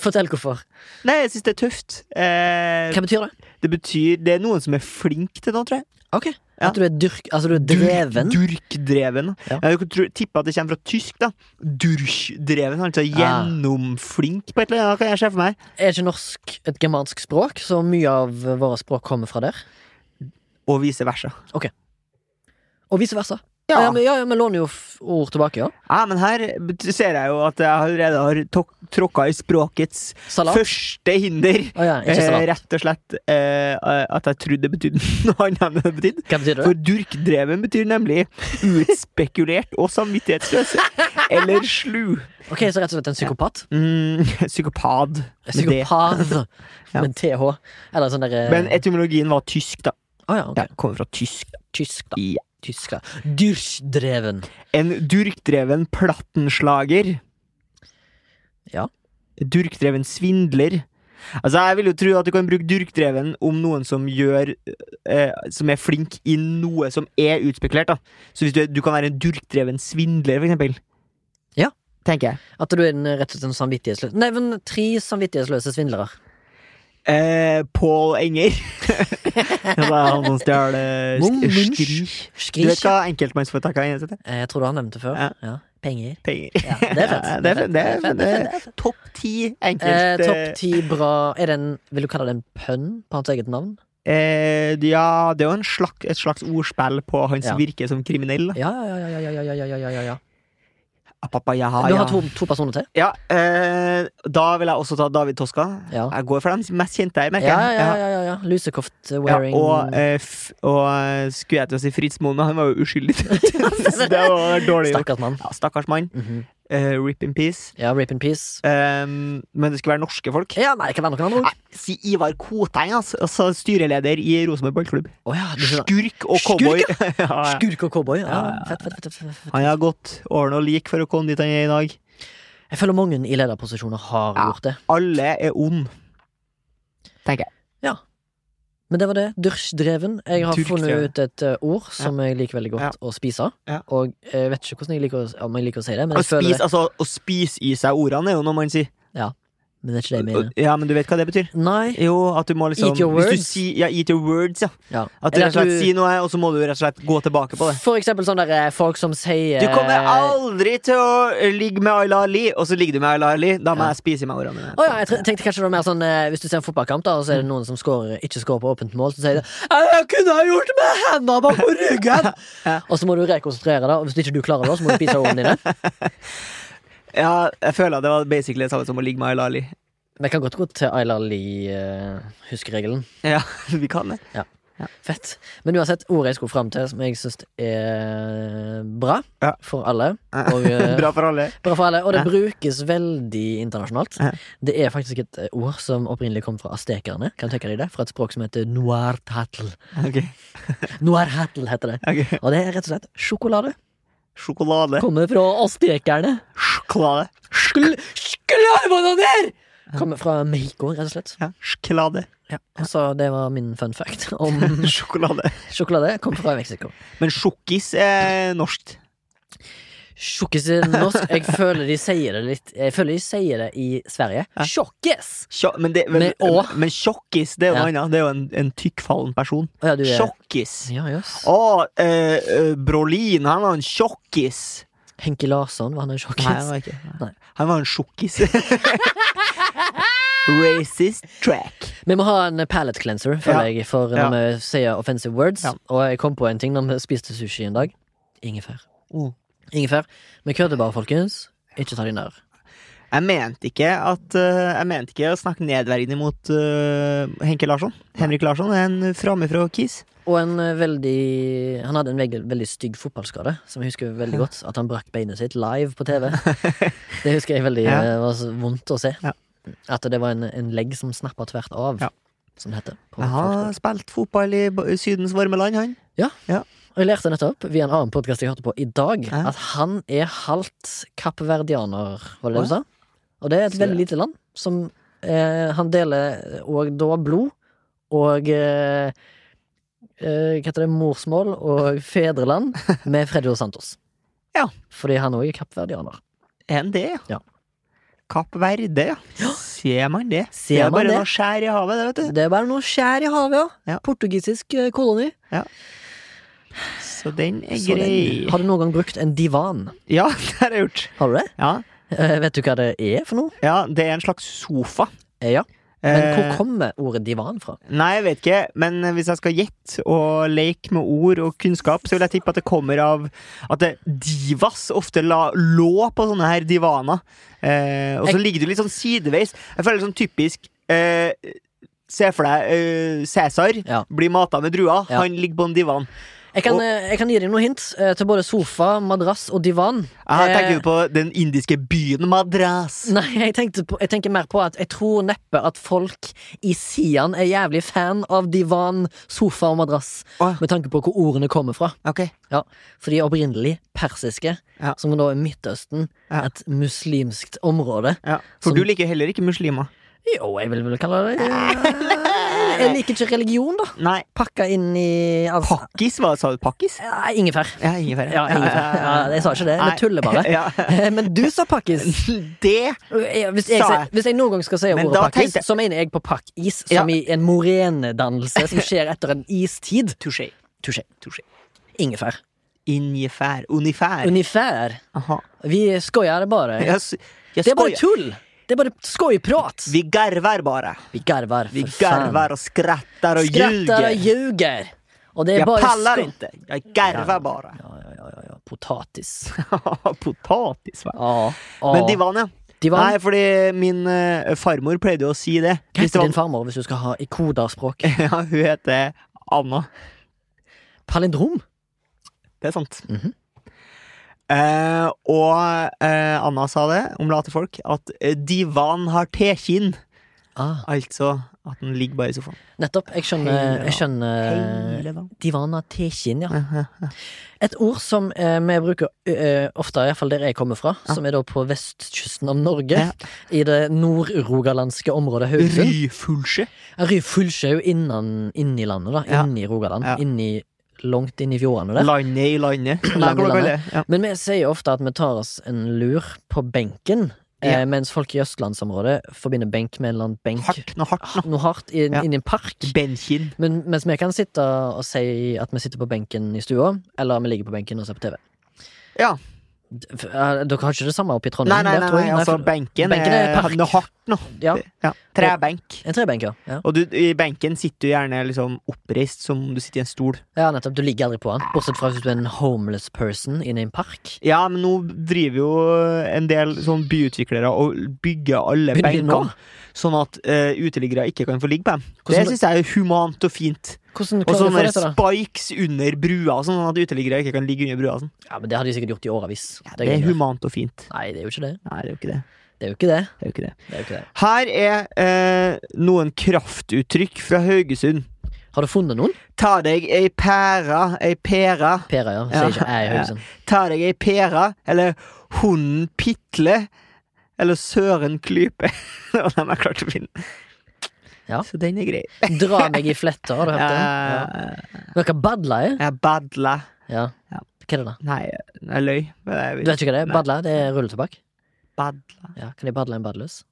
A: Fortell hvorfor.
B: Nei, jeg syns det er tøft. Eh,
A: Hva betyr det?
B: det betyr Det er noen som er flink til noe, tror jeg.
A: Ok.
B: Ja.
A: At du er dyrk... Altså, du er dreven.
B: Durk, durkdreven.
A: Ja.
B: Jeg kunne tro- tippe at det kommer fra tysk, da. Durkdreven, altså
A: Ah.
B: gjennomflink på et eller annet, kan jeg se for meg.
A: Er ikke norsk et germansk språk, så mye av våre språk kommer fra der?
B: Og vice versa.
A: Og vice versa.
B: Ja.
A: men, ja, ja, vi låner jo f ord tilbake, ja.
B: Ja, men her bet- ser jeg jo at jeg allerede har tok- tråkka i språkets
A: Salat.
B: første hinder.
A: Å ja, ikke
B: Eh,
A: salat.
B: rett og slett eh, at jeg trodde det betydde noe annet enn det betydde.
A: Hva betyr det?
B: For durkdreven betyr nemlig utspekulert og samvittighetsløs. Eller slu.
A: Ok, så rett og slett en psykopat.
B: Mm, psykopad.
A: Psykopat.
B: Ja.
A: Med TH. Eller sånn derre
B: Men etymologien var tysk, da.
A: Å ja, ok.
B: Ja, kommer fra tysk.
A: Tysk, da.
B: Ja.
A: Tysk, da. Dyrchdreven.
B: En durkdreven plattenslager.
A: Ja.
B: Durkdreven svindler. Altså, Jeg vil jo tro at du kan bruke durkdreven om noen som gjør eh, Som er flink i noe som er utspekulert. da Så hvis du, er- du kan være en durkdreven svindler, for eksempel.
A: Ja.
B: Tenker jeg.
A: At du er en, rett og slett en samvittighetsløs Nei, men tre samvittighetsløse svindlere.
B: Eh, Pål Enger. Ja, da er han som stjal eh,
A: Mung
B: sk-
A: Munch.
B: skri. Du vet
A: Skrik.
B: hva enkeltmannsforetakene er? Sette?
A: Eh, Jeg tror du har nevnt det før.
B: Ja.
A: Ja. Penger.
B: Penger.
A: Ja, det er fett.
B: Ja, det er fett, det er fett, det er
A: fett.
B: Topp ti
A: Eh,
B: enkelt...
A: Topp ti bra Er det en Vil du kalle det en pønn på hans eget navn?
B: Eh, ja, det er jo en slags, et slags ordspill på hans
A: Ja.
B: virke som kriminell. da.
A: Ja, ja, ja. ja, ja, ja, ja, ja, ja, ja, ja.
B: Apapa, jaha,
A: Du
B: Ah, ja.
A: har to, to personer til?
B: Ja, eh, da vil jeg også ta David Toska.
A: Ja.
B: Jeg går for dem mest kjente jeg,
A: Ja,
B: merker
A: ja,
B: jeg.
A: ja.
B: Ja.
A: ja, ja, ja.
B: Ja,
A: Lusekofte-wearing
B: og, eh, f og eh, skulle jeg til å si Fritz Moen, men han var jo uskyldig. Så det var dårlig gjort.
A: Stakkars mann.
B: Ja, stakkars mann.
A: Mhm.
B: Eh, rip in peace.
A: Ja, rape in peace.
B: Ehm, men det skulle være norske folk.
A: Ja, nei, det kan være noen andre ord.
B: Nei, si Ivar Koteng, altså, altså styreleder i Rosenborg ballklubb.
A: Å ja, du skjønner.
B: Skurk og cowboy. Ja, ja.
A: Skurk og cowboy.
B: Ah, Ja,
A: Ja,
B: ja.
A: fett, fett, fett, fett, fett.
B: Han har gått årene og lik for å komme dit han er i dag.
A: Jeg føler mange i lederposisjoner har
B: Ja.
A: gjort det.
B: Alle er ond. Tenker jeg.
A: Men det var det. Dyrchdreven. Jeg har
B: Durchdreven.
A: funnet ut et eh, ord som jeg liker veldig godt å spise.
B: Ja.
A: Og eh, jeg vet ikke hvordan jeg liker å, om jeg liker å si det, men
B: Å
A: jeg føler
B: spise,
A: det.
B: altså, å spise i seg ordene er jo noe man sier.
A: Men det er ikke det jeg mener.
B: Ja, men du vet hva det betyr?
A: Nei.
B: Jo, at du må liksom
A: Eat your
B: hvis du
A: words.
B: sier- ja, eat your words, ja.
A: Ja.
B: At du
A: Eller
B: rett og slett sier noe, og så må du rett og slett gå tilbake på det.
A: For eksempel sånne der, eh, folk som sier eh,
B: Du kommer aldri til å ligge med Ayla Ali, og så ligger du med Ayla Ali. Da må
A: Ja.
B: jeg spise i meg ordene dine.
A: Å ja, jeg tre- tenkte kanskje det var mer sånn eh, Hvis du ser en fotballkamp, da og så er det
B: Mm.
A: noen som scorer, ikke scorer på åpent mål, så sier de «Ja, 'Jeg kunne ha gjort det med hendene bak på ryggen'!
B: Ja.
A: Og så må du rekonsentrere deg, og hvis ikke du klarer det, så må du spise ordene dine.
B: Ja, jeg føler at det var basically det samme som å ligge med Ayla Ali.
A: Vi kan godt gå til Ayla Lie-huskeregelen.
B: Ja, vi kan det.
A: Fett. Men uansett, ordet jeg skulle fram til, som jeg syns er bra
B: Ja.
A: for alle og, eh,
B: Bra for alle.
A: Bra for alle, og det
B: Ja.
A: brukes veldig internasjonalt.
B: Ja.
A: Det er faktisk et eh, ord som opprinnelig kom fra astekerne. Kan du tenke deg det? Fra et språk som heter noirtatl.
B: Ok,
A: Noirhatl heter det.
B: ok.
A: Og det er rett og slett sjokolade.
B: Sjokolade.
A: Kommer fra astekerne.
B: Sjokolade.
A: Skl- Sjokoladebananer! Kommer fra Mexico, rett og slett.
B: Ja, sjokolade.
A: Så det var min fun fact om
B: Sjokolade.
A: sjokolade. Kommer fra Mexico.
B: Men sjokkis er norsk.
A: Sjokkis i norsk. Jeg føler de sier det litt Jeg føler de sier det i Sverige.
B: Ja.
A: Sjokkis!
B: Tjo- Men, det, men,
A: Med å.
B: men tjokkis, det er jo
A: Ja.
B: noe annet. Det er jo en, en tykkfallen person.
A: Å Ja, du er
B: Tjokkis.
A: Ja, jøss.
B: Å, eh, eh, Brolin, han var en tjokkis.
A: Henki Larsson, var han en sjokkis?
B: Nei, han var ikke
A: Nei.
B: Han var en sjokkis. Racist track.
A: Vi må ha en palate cleanser, føler jeg, for når vi sier offensive words.
B: Ja.
A: Og jeg kom på en ting når vi spiste sushi en dag. Ingefær.
B: Mm.
A: Ingefær. Vi kødder bare, folkens. Ikke ta de nær.
B: Jeg mente ikke at eh, Jeg mente ikke å snakke nedverdigende mot eh, Henke Larsson. Henrik Larsson er en framifrå kis.
A: Og en eh, veldig Han hadde en veldig, veldig stygg fotballskade, som jeg husker veldig godt. At han brakk beinet sitt live på TV. Det husker jeg veldig
B: Ja.
A: eh, var så vondt å se.
B: Ja.
A: At det var en, en legg som snappa tvert av,
B: Ja.
A: som det heter. på
B: Han har
A: fotballskole.
B: spilt fotball i ba- Sydens varme land, han.
A: Og jeg lærte nettopp, via en annen podkast jeg hørte på i dag,
B: Ja.
A: at han er halvt kappverdianer, var det det du
B: Å,
A: sa? Og det er et
B: Så-
A: veldig lite land, som eh, han deler og da blod og eh, eh, Hva heter det? Morsmål og fedreland med Fredio Santos.
B: Ja.
A: Fordi han òg er kappverdianer.
B: Er han det,
A: Ja.
B: Kapp Verde, ja. Ser man det?
A: Ser
B: det er
A: man
B: bare
A: det?
B: noe skjær i havet, det, vet du.
A: Det er bare noe skjær i havet, ja.
B: Ja.
A: Portugisisk eh, koloni.
B: Så den er
A: Så
B: grei.
A: den- Har du noen gang brukt en divan?
B: Ja, det har jeg gjort.
A: Har du det?
B: Ja.
A: Eh, vet du hva det er for noe?
B: ja, det er en slags sofa.
A: Eh, ja. Men hvor
B: Eh,
A: kommer ordet divan fra?
B: Nei, jeg vet ikke, men hvis jeg skal gjette og leke med ord og kunnskap, så vil jeg tippe at det kommer av at det divas ofte la, lå på sånne her divaner. Eh, og så
A: Jeg-
B: ligger du litt sånn sideveis. Jeg føler det sånn typisk eh, Se for deg eh, Cæsar
A: Ja.
B: blir mata med druer.
A: Ja.
B: Han ligger på en divan.
A: Jeg kan,
B: Og-
A: eh, jeg kan gi deg noen hint eh, til både sofa, madrass og divan.
B: Jeg
A: Eh,
B: tenker jo på den indiske byen Madras.
A: Nei, jeg, tenkte på, jeg tenker mer på at jeg tror neppe at folk i Sian er jævlig fan av divan, sofa og madrass.
B: Åh.
A: Med tanke på hvor ordene kommer fra.
B: Ok,
A: Ja, For de er opprinnelig persiske,
B: Ja.
A: som da er Midtøsten.
B: Ja.
A: Et muslimskt område.
B: ja. For
A: Som-
B: du liker jo heller ikke muslimer.
A: Jo, jeg vil vel kalle det Jeg liker ikke religion, da.
B: Nei,
A: Pakka inn i altså,
B: pakkis, hva sa du? Pakkis?
A: eh, Ingefær.
B: Ja, ingefær.
A: Ja, ingefær. Ja, jeg sa ikke det.
B: Nei.
A: Jeg tuller bare.
B: Ja.
A: Men du sa pakkis.
B: Det
A: Ja, Hvis jeg,
B: Sa jeg.
A: sier- hvis jeg noen gang skal si
B: Men
A: ordet
B: da
A: pakkis,
B: tenkte-
A: så mener jeg på pakkis som i en morenedannelse som skjer etter en istid.
B: Touché.
A: Touché.
B: Touché.
A: Ingefær.
B: Ingefær. Unifær.
A: Unifær.
B: Aha.
A: Vi skojar det bare.
B: Jeg, s- jeg
A: Det er bare
B: skojar.
A: tull! Det er bare skojprat.
B: Vi garver bare.
A: Vi garvar,
B: Vi
A: for faen.
B: garver og skrattar og
A: Skrattar og ljuger.
B: ljuger.
A: Og det er
B: Jeg
A: bare
B: pallar
A: sko-
B: inte. Jag garvar bara.
A: Ja, ja, ja, ja, ja. Potatis. Ah,
B: Potatis, va?
A: Ja. ja.
B: Men divan, ja.
A: Divan.
B: Nei, fordi min eh, farmor pleide jo å si det.
A: Hva
B: Hvis det
A: heter
B: var-
A: din farmor hvis du skal ha i koderspråk?
B: Ja, hun heter Anna.
A: Palindrom?
B: Det er sant.
A: Mhm.
B: Eh, og eh, Anna sa det om late folk, at eh, divan har tekinn.
A: Ah,
B: Altså at den ligger bare i sofaen.
A: nettopp. Jeg skjønner, jeg skjønner
B: Hele dagen.
A: Divana Tekin, ja.
B: Ja, ja, ja.
A: Et ord som eh, vi bruker eh, ofte, iallfall der jeg kommer fra,
B: Ja.
A: som er da på vestkysten av Norge,
B: Ja.
A: i det nord-rogalandske området Haugesund.
B: Ryfulsje.
A: Ja, Ryfylke er jo innan, inni landet, da.
B: Ja.
A: Inni Rogaland.
B: Ja.
A: Inni, langt inn i fjordene der.
B: Landet i landet.
A: Landet i
B: Nei, hva dere
A: landet.
B: kaller det. Ja.
A: Men vi sier ofte at vi tar oss en lur på benken, eh,
B: Ja.
A: mens folk i østlandsområdet forbinder benk med en eller annen benk.
B: Hardt, noe hardt, noe.
A: Noe hardt i,
B: Ja.
A: inni en park.
B: Benkin.
A: Men, mens vi kan sitte og si at vi sitter på benken i stua, eller vi ligger på benken og ser på TV.
B: Ja.
A: D- f- eh, Dere har ikke det samme oppe i
B: Nei,
A: Trondheim?
B: nei,
A: der,
B: nei,
A: tror jeg.
B: nei, altså
A: for-
B: benken
A: benken er
B: er
A: park.
B: noe hardt, noe.
A: ja,
B: Ja. Trebenk.
A: En trebenk, ja. ja.
B: Og du, i benken sitter du gjerne liksom oppreist som om du sitter i en stol.
A: Ja, nettopp. Du ligger aldri på den. Bortsett fra hvis du er en homeless person inne i en park.
B: Ja, men nå driver jo en del sånn byutviklere og bygger alle
A: Begynner de nå?
B: benkene, sånn at eh, uteliggere ikke kan få ligge på dem.
A: Hvordan-
B: det syns jeg er humant og fint.
A: Hvordan
B: Og
A: klarer du å få
B: sånne
A: det til, da?
B: spikes under brua, og sånn sånn at uteliggere ikke kan ligge under brua. og Sånn.
A: Ja, men Det har de sikkert gjort i årevis.
B: Det er humant og fint.
A: Nei, det er jo ikke det.
B: Nei, det er jo ikke det.
A: Det er jo ikke det.
B: Det er jo ikke det.
A: det, er jo ikke det.
B: Her er eh, noen kraftuttrykk fra Haugesund.
A: Har du funnet noen?
B: Ta deg ei pære, ei pære.
A: Pera, ja.
B: Ja.
A: Sier ikke jeg i Haugesund.
B: Ta deg ei pære, eller hunden pitle, eller søren klype. Det var den jeg klarte å finne.
A: Ja.
B: Så den er grei.
A: Dra meg i fletta, har du hørt det? Ja.
B: Jeg,
A: Men hva badla er?
B: jeg badla
A: Ja.
B: Ja.
A: Hva er det, da?
B: Nei, jeg løy. men
A: Du
B: jeg vet-
A: vet ikke hva det er?
B: Nei.
A: Badla, det er rulletobakk.
B: Badla.
A: Ja, kan jeg badle en badeløs?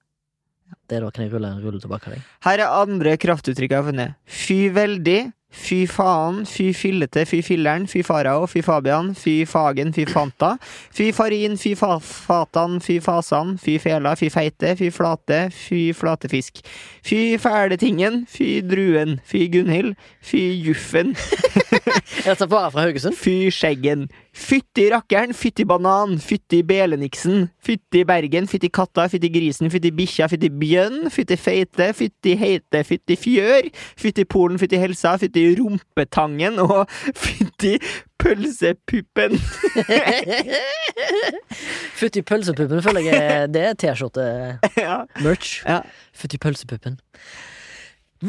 A: Det er da kan jeg rulle en rulletobakk av deg.
B: Her er andre kraftuttrykk jeg har funnet. Fy veldig, fy faen, fy fillete, fy filleren, fy farao, fy Fabian, fy fagen, fy fanta. Fy farin, fy fa fatan, fy fasan, fy fela, fy feite, fy flate, fy flatefisk. Fy fæletingen, fy druen, fy Gunhild, fy juffen,
A: Er dette bare fra Haugesund?
B: fy skjeggen. Fytti rakkeren, fytti banan, fytti beleniksen, fytti Bergen, fytti katta, fytti grisen, fytti bikkja, fytti bjønn, fytti feite, fytti heite, fytti fjør, fytti polen, fytti helsa, fytti rumpetangen og fytti pølsepuppen.
A: Fytti pølsepuppen føler jeg er- det er eh, T-skjorte-merch.
B: ja. Ja.
A: Fytti pølsepuppen.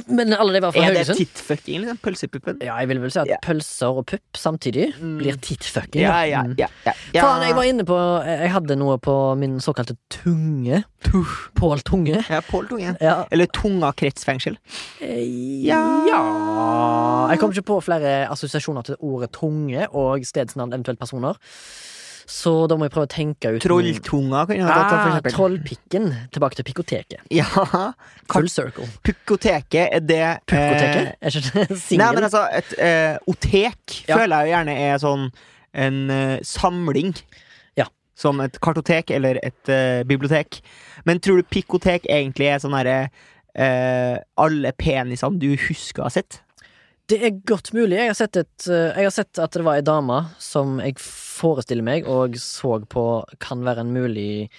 A: Men alle de var fra
B: Er det
A: Haugesund?
B: tittfucking, liksom? Pølsepuppen?
A: Ja, jeg vil vel si at
B: Ja. Mm.
A: pølser og pupp samtidig blir tittfucking.
B: Ja,
A: da.
B: ja,
A: Mm.
B: ja. ja, ja.
A: Faen, jeg var inne på eh, Jeg hadde noe på min såkalte tunge. Pål Tunge.
B: Ja, Påltungen.
A: Ja.
B: Eller Tunga kretsfengsel.
A: ja Jeg kom ikke på flere assosiasjoner til ordet tunge og stedsnavn, eventuelt personer. Så da må jeg prøve å tenke ut
B: Trolltunga kan jeg ha tatt, for
A: Ah,
B: eksempel.
A: trollpikken. Tilbake til pikoteket.
B: Ja.
A: Full circle.
B: Pukkoteket er det eh,
A: Pikoteket? Er ikke det
B: Nei, men
A: singel?
B: altså, et eh, otek
A: Ja.
B: føler jeg jo gjerne er sånn en eh, samling.
A: Ja.
B: Som et kartotek eller et eh, bibliotek. Men tror du pikkotek egentlig er sånn herre eh, Alle penisene du husker å ha sett?
A: Det er godt mulig. Jeg har, sett et, eh, jeg har sett at det var ei dame som jeg forestiller meg og så på kan være en mulig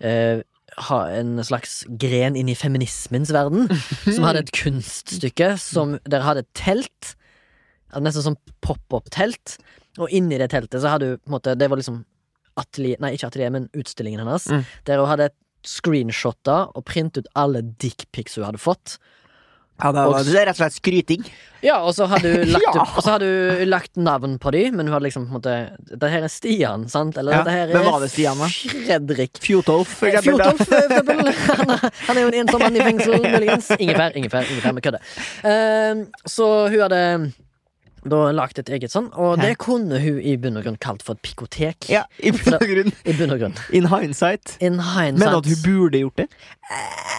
A: eh, ha en slags gren inn i feminismens verden. Som hadde et kunststykke som der hadde et telt. ja, Nesten som pop-up-telt. Og inni det teltet så hadde hun på en måte Det var liksom atelier, nei, ikke atelier, men utstillingen hennes.
B: Mm.
A: Der hun hadde screenshotta og printet ut alle dickpics hun hadde fått.
B: Ja, det,
A: var-
B: og, det er rett og slett skryting.
A: Ja, og så hadde hun lagt,
B: Ja.
A: opp- og så hadde hun lagt navn på dem, men hun hadde liksom på en måte Dette her er Stian, sant? Eller
B: Ja,
A: dette her
B: men
A: er
B: var det Stian, da?
A: Fredrik.
B: Eh, Fjotolf, for eksempel. da.
A: Fjotolf, for eksempel. Han er- han er jo en ensom mann i fengsel, muligens. Ingefær, ingefær, ingefær. Vi kødder. Eh, så hun hadde da lagt et eget sånn, og det kunne hun i bunn og grunn kalt for et pikotek.
B: Ja, i bunn og grunn.
A: I bunn og grunn.
B: In hindsight.
A: In hindsight.
B: Men at hun burde gjort det?
A: Eh,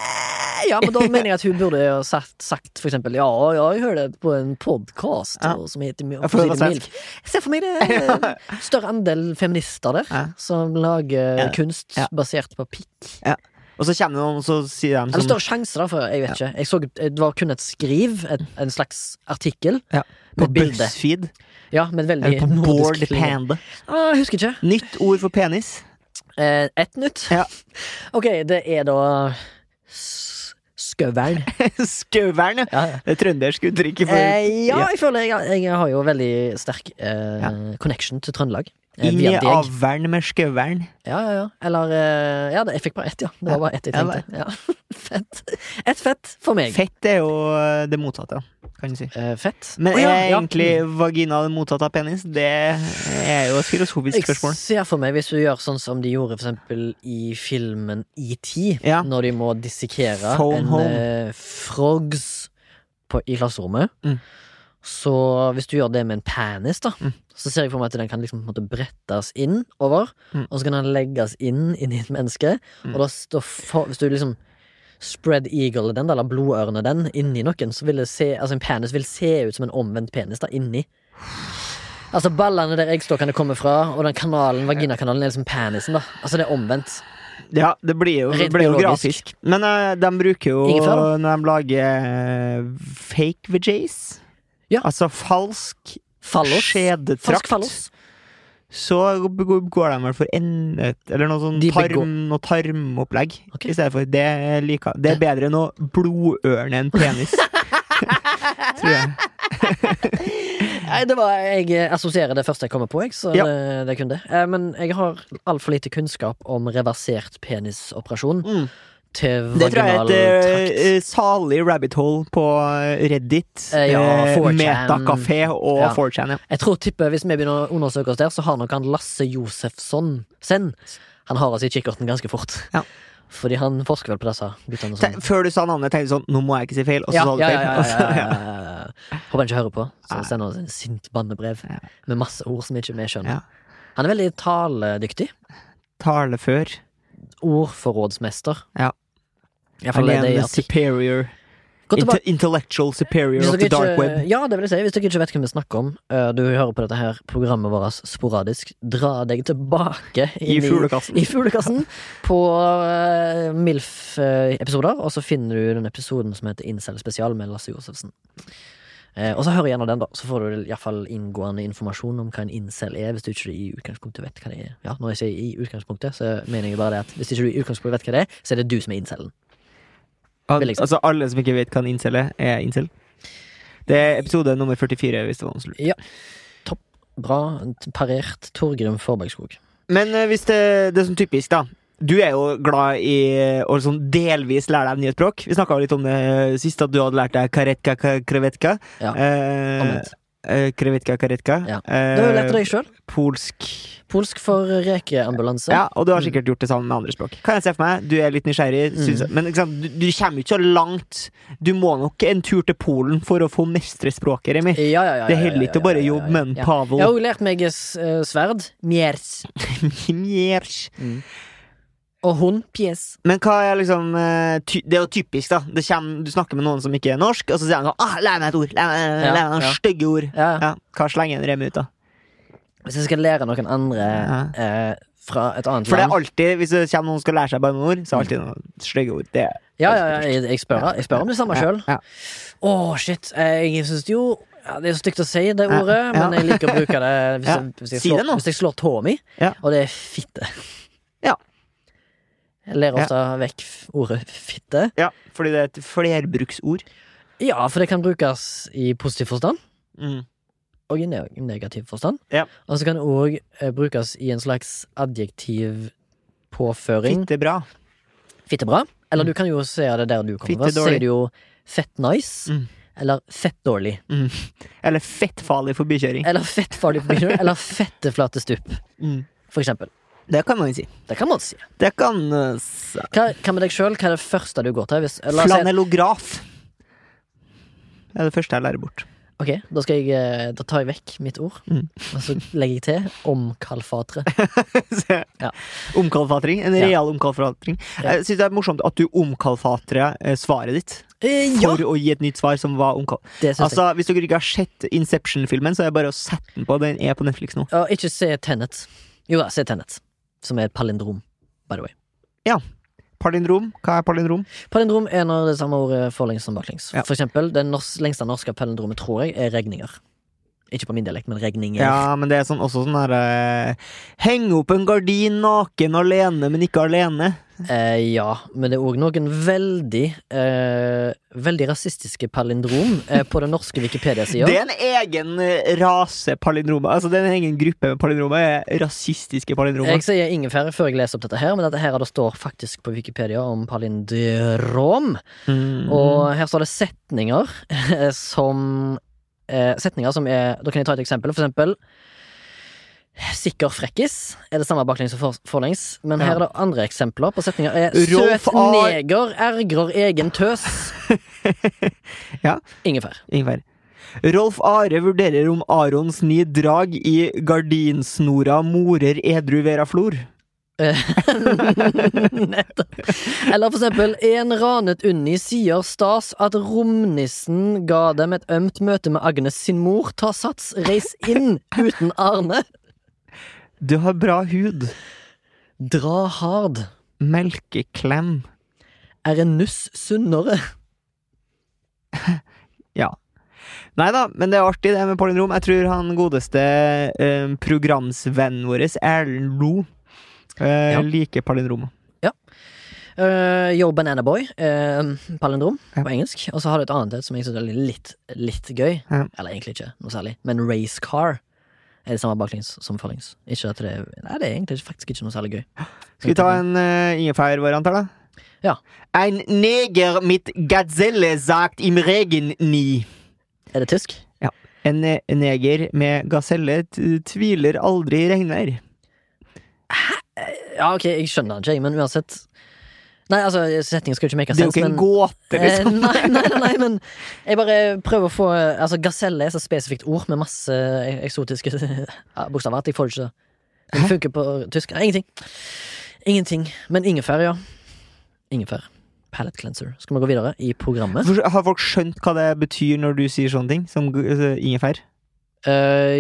A: Ja, men da mener jeg at hun burde ha sagt, sagt for eksempel Ja, ja, jeg hører det på en podkast
B: Ja.
A: som heter Mjø-
B: Ja, for det var
A: Sitter Milk. Jeg ser for meg det er en større andel feminister der
B: Ja.
A: som lager
B: Ja.
A: kunst
B: Ja.
A: basert på pikk.
B: Og så kommer det noen, og så sier de
A: Eller
B: sånn
A: større sjanse, da, for jeg vet ikke. Jeg så, det var kun et skriv, et, en slags artikkel,
B: Ja.
A: med
B: På
A: bilde.
B: BuzzFeed.
A: Ja, med et veldig
B: Eller på Board
A: nordisk klinge.
B: Panda.
A: Ah, jeg husker ikke.
B: Nytt ord for penis.
A: Eh, ett nytt.
B: Ja.
A: Ok, det er da s- Skøvern.
B: Skauvern, ja.
A: Ja, ja.
B: Det er trøndersk uttrykk. for-
A: Eh, ja,
B: Ja.
A: jeg føler jeg, jeg har jo veldig sterk eh, connection til Trøndelag. Eh,
B: Inn i
A: via deg.
B: avern med skauvern.
A: Ja, ja, ja. Eller eh, Ja, det, jeg fikk bare ett, ja. Det var bare ett jeg
B: Ja,
A: tenkte. Ja. fett. Et fett for meg.
B: Fett er jo eh, det motsatte, kan du si.
A: Eh, fett.
B: Men
A: Å, ja,
B: er
A: ja.
B: egentlig vagina det motsatte av penis? Det er jo et filosofisk
A: Jeg
B: spørsmål.
A: ser for meg, hvis du gjør sånn som de gjorde for eksempel i filmen E.T.,
B: Ja.
A: når de må dissekere
B: Phone
A: en
B: home.
A: eh, frogs på, i klasserommet,
B: Mm.
A: så hvis du gjør det med en penis, da,
B: Mm.
A: så ser jeg for meg at den kan liksom på en måte brettes inn over,
B: Mm.
A: og så kan den legges inn inni et menneske,
B: Mm.
A: og da står for, hvis du liksom Spread eagle den, da, eller blodørene den, inni noen, så vil det se Altså, en penis vil se ut som en omvendt penis, da, inni. Altså Ballene der eggstokkene kommer fra, og den kanalen, vaginakanalen er liksom penisen. da Altså Det er omvendt.
B: Ja, det blir jo, det
A: Rent
B: blir jo
A: biologisk.
B: grafisk. Men eh, de bruker jo
A: Ingefær, da?
B: Når de lager eh, fake VJs,
A: Ja.
B: altså falsk
A: Fallos. Falsk
B: skjedetrakt,
A: fallos.
B: så g- g- går de vel for endet Eller noe sånn
A: De begår-
B: tarm, noe tarmopplegg
A: Ok.
B: i stedet for. Det, liker, det er bedre enn å blodørne en penis. Tror jeg.
A: Nei, det var Jeg eh, assosierer det første jeg kommer på, jeg, så
B: Ja.
A: det, det er kun det. Eh, Men jeg har altfor lite kunnskap om reversert penisoperasjon
B: Mm.
A: til
B: Det tror jeg er
A: vaginal
B: et eh,
A: trakt.
B: eh, salig rabbit hole på eh, Reddit,
A: Eh, ja,
B: eh,
A: 4chan.
B: Metakafé og
A: Ja.
B: 4chan. Ja.
A: Jeg tror tipper Hvis vi begynner å undersøke oss der, så har nok han Lasse Josefsson Sen Han har oss i kikkerten ganske fort.
B: Ja.
A: Fordi han forsker vel på disse guttene.
B: Te-
A: som-
B: Før du sa navnet, tenkte jeg sånn Nå må jeg ikke si feil, og så
A: Ja,
B: sa du
A: ja, ja,
B: feil.
A: ja,
B: og
A: ja,
B: så-
A: ja, ja, ja. Håper han ikke hører på. Så
B: Nei.
A: sender han oss en sint bannebrev
B: Ja.
A: med masse ord som ikke vi skjønner.
B: Ja.
A: Han er veldig taledyktig.
B: Talefør.
A: Ordforrådsmester.
B: Ja.
A: I hvert
B: Han
A: fall
B: er
A: det i
B: en
A: artikkel.
B: superior
A: Gå tilbake.
B: inte Intellectual superior
A: Hvis
B: of the
A: dere
B: dark
A: ikke,
B: web.
A: ja, det vil jeg si. Hvis dere ikke vet hvem vi snakker om, eh, du hører på dette her programmet vårt sporadisk, dra deg tilbake
B: I
A: inn
B: fuglekassen.
A: i fuglekassen på eh, MILF-episoder, og så finner du den episoden som heter Incel spesial med Lasse Josefsen. Eh, og så hør gjennom den, da, så får du iallfall inngående informasjon om hva en incel er, hvis du ikke i utgangspunktet vet hva det er. Ja, når jeg sier i utgangspunktet, så mener jeg bare det at hvis ikke du i utgangspunktet vet hva det er, så er det du som er incelen.
B: Al-
A: liksom.
B: Altså, alle som ikke vet hva en incel er, er incel. Det er episode nummer 44, hvis det var noe slutt.
A: Bra parert Torgrim Forbergskog.
B: Men eh, hvis det, det er sånn typisk, da. Du er jo glad i å sånn delvis lære deg nye språk. Vi snakka litt om det eh, sist, at du hadde lært deg karetka ka- krevetka.
A: Ja,
B: Eh,
A: Omvendt.
B: eh, krevetka karetka.
A: Ja.
B: Eh,
A: Du har jo lært deg sjøl.
B: polsk
A: Polsk for rekeambulanse.
B: Ja, og du har
A: Mm.
B: sikkert gjort det sammen med andre språk. Kan jeg se for meg, Du er litt nysgjerrig, syns- men ikke sant? Du, du kommer jo ikke så langt. Du må nok en tur til Polen for å få mestre språket, Remi.
A: Ja, ja, ja, ja,
B: Det holder ikke å bare jobbe med en Pavel
A: Jeg har jo lært meg eh, s- eh, sverd. Mjers.
B: Mjers.
A: Og hund. Pjes.
B: Men hva er liksom eh, ty Det er jo typisk, da. Det kommer, du snakker med noen som ikke er norsk, og så sier han sånn ah, 'Lær meg et ord! Lær meg,
A: Ja,
B: lær meg noen
A: ja.
B: stygge ord!'
A: Ja.
B: Ja, Hva slenger en Remi ut, da?
A: Hvis jeg skal lære noen andre eh, fra et annet
B: For det er
A: land
B: alltid, Hvis det kommer noen som skal lære seg bare noen ord, så er det
A: Mm.
B: alltid noen stygge ord. Det er
A: ja, ja, ja, jeg, jeg, spør, jeg spør om det samme sjøl.
B: Ja, ja.
A: Å, shit. eh, Jeg syns jo ja, Det er jo stygt å si det
B: Ja,
A: ordet,
B: ja.
A: men jeg liker å bruke det hvis,
B: Ja,
A: jeg, hvis, jeg,
B: si det
A: slår,
B: nå.
A: hvis jeg slår tåa mi,
B: Ja.
A: og det er fitte.
B: Ja.
A: Jeg ler ofte vekk f- ordet fitte.
B: ja, fordi det er et flerbruksord.
A: Ja, for det kan brukes i positiv forstand.
B: Mm.
A: og i ne- negativ forstand.
B: Ja.
A: Og så kan det òg eh, brukes i en slags adjektiv påføring.
B: Fitte bra.
A: Fittebra.
B: Mm.
A: Eller du kan jo se det der du kommer fra. Så
B: Fittedårlig.
A: sier du jo fett nice.
B: Mm.
A: Eller fett dårlig.
B: Mm. Eller fettfarlig forbikjøring.
A: Eller fett farlig på begynnelsen. eller fette flate stup,
B: Mm.
A: for eksempel.
B: Det kan man si.
A: Det kan man si.
B: Det kan eh, s-
A: Hva, hva med deg sjøl? Hva er det første du går til? Hvis, la oss si-
B: Flanellograf. Det er det første jeg lærer bort.
A: Ok, da, skal jeg, eh, da tar jeg vekk mitt ord,
B: Mm.
A: og så legger jeg til omkalfatre.
B: Så-
A: Ja.
B: Omkalfatring. En
A: Ja.
B: real omkalfatring.
A: Ja.
B: Jeg syns det er morsomt at du omkalfatrer eh, svaret ditt
A: Eh, ja!
B: for å gi et nytt svar som var omkal...
A: Det syns jeg.
B: Altså, Hvis dere ikke har sett Inception-filmen, så er det bare å sette den på. Den er på Netflix nå.
A: Og ikke se Tennet. Jo da, se Tennet. Som er et palindrom, by the way.
B: Palindrom. Hva er palindrom?
A: Palindrom er når det samme ordet forlengs som baklengs.
B: Ja.
A: For eksempel, det nors lengste norske palindromet, tror jeg, er regninger. Ikke på min dialekt, men regninger.
B: Ja, men det eh, er sånn, også sånn derre Henge opp en gardin naken alene, men ikke alene.
A: Eh, ja, men det er òg noen veldig eh, Veldig rasistiske palindrom eh, på den norske Wikipedia-sida.
B: Det er en egen eh, rase palindromer. Altså, det er en egen gruppe med palindromer. eh, Rasistiske palindromer.
A: Jeg sier ingefær før jeg leser opp dette, her men dette her det står faktisk på Wikipedia om palindrom.
B: Mm.
A: Og her står det setninger eh, som eh, Setninger som er Da kan jeg ta et eksempel. For eksempel Sikker frekkis er det samme baklengs og for- forlengs. Men her
B: Ja.
A: er det andre eksempler på setninger. Er,
B: Rolf
A: Søt
B: A.
A: neger ergrer egen tøs.
B: Ja.
A: Ingefær.
B: Ingefær. Rolf Are vurderer om Arons ni drag i gardinsnora morer edru vera flor.
A: Nettopp. Eller for eksempel En ranet unni sier stas at romnissen ga dem et ømt møte med Agnes sin mor. Ta sats, reis inn uten Arne.
B: Du har bra hud.
A: Dra hard.
B: Melkeklem.
A: Er en nuss sunnere?
B: Nei da, men det er artig det med palindrom. Jeg tror han godeste eh, programsvennen vår, Erlend Lo, eh,
A: Ja.
B: liker palindrom.
A: Uh, Yo Banana Boy, eh, palindrom
B: Ja.
A: på engelsk. Og så har du et annet et som jeg synes er litt, litt gøy.
B: Ja.
A: Eller egentlig ikke noe særlig, men race car er det samme baklengs som forlengs. Ikke at det, nei, det er egentlig faktisk ikke noe særlig gøy.
B: Skal vi ta en uh, ingefærvariant her, da?
A: Ja.
B: Ein neger mit gazelle sagt im Regen ni.
A: Er det tysk?
B: En eh, neger med gaselle t tviler aldri i regnvær.
A: Ja, ok, jeg skjønner det ikke, jeg, men uansett Nei, altså, setningen skal jo ikke make
B: Det er jo
A: sense,
B: ikke en
A: men
B: gåte,
A: Eh,
B: liksom.
A: nei, nei, nei, nei, men jeg bare prøver å få Altså, gaselle er så spesifikt ord med masse eksotiske ja, bokstaver at jeg får det ikke til. Det funker på tysk. Nei, ingenting. Ingenting. Men ingefær, ja. Ingefær. Palette cleanser. Skal vi gå videre i programmet?
B: For- Har folk skjønt hva det betyr når du sier sånne ting, som g- eh, ingefær?
A: Eh,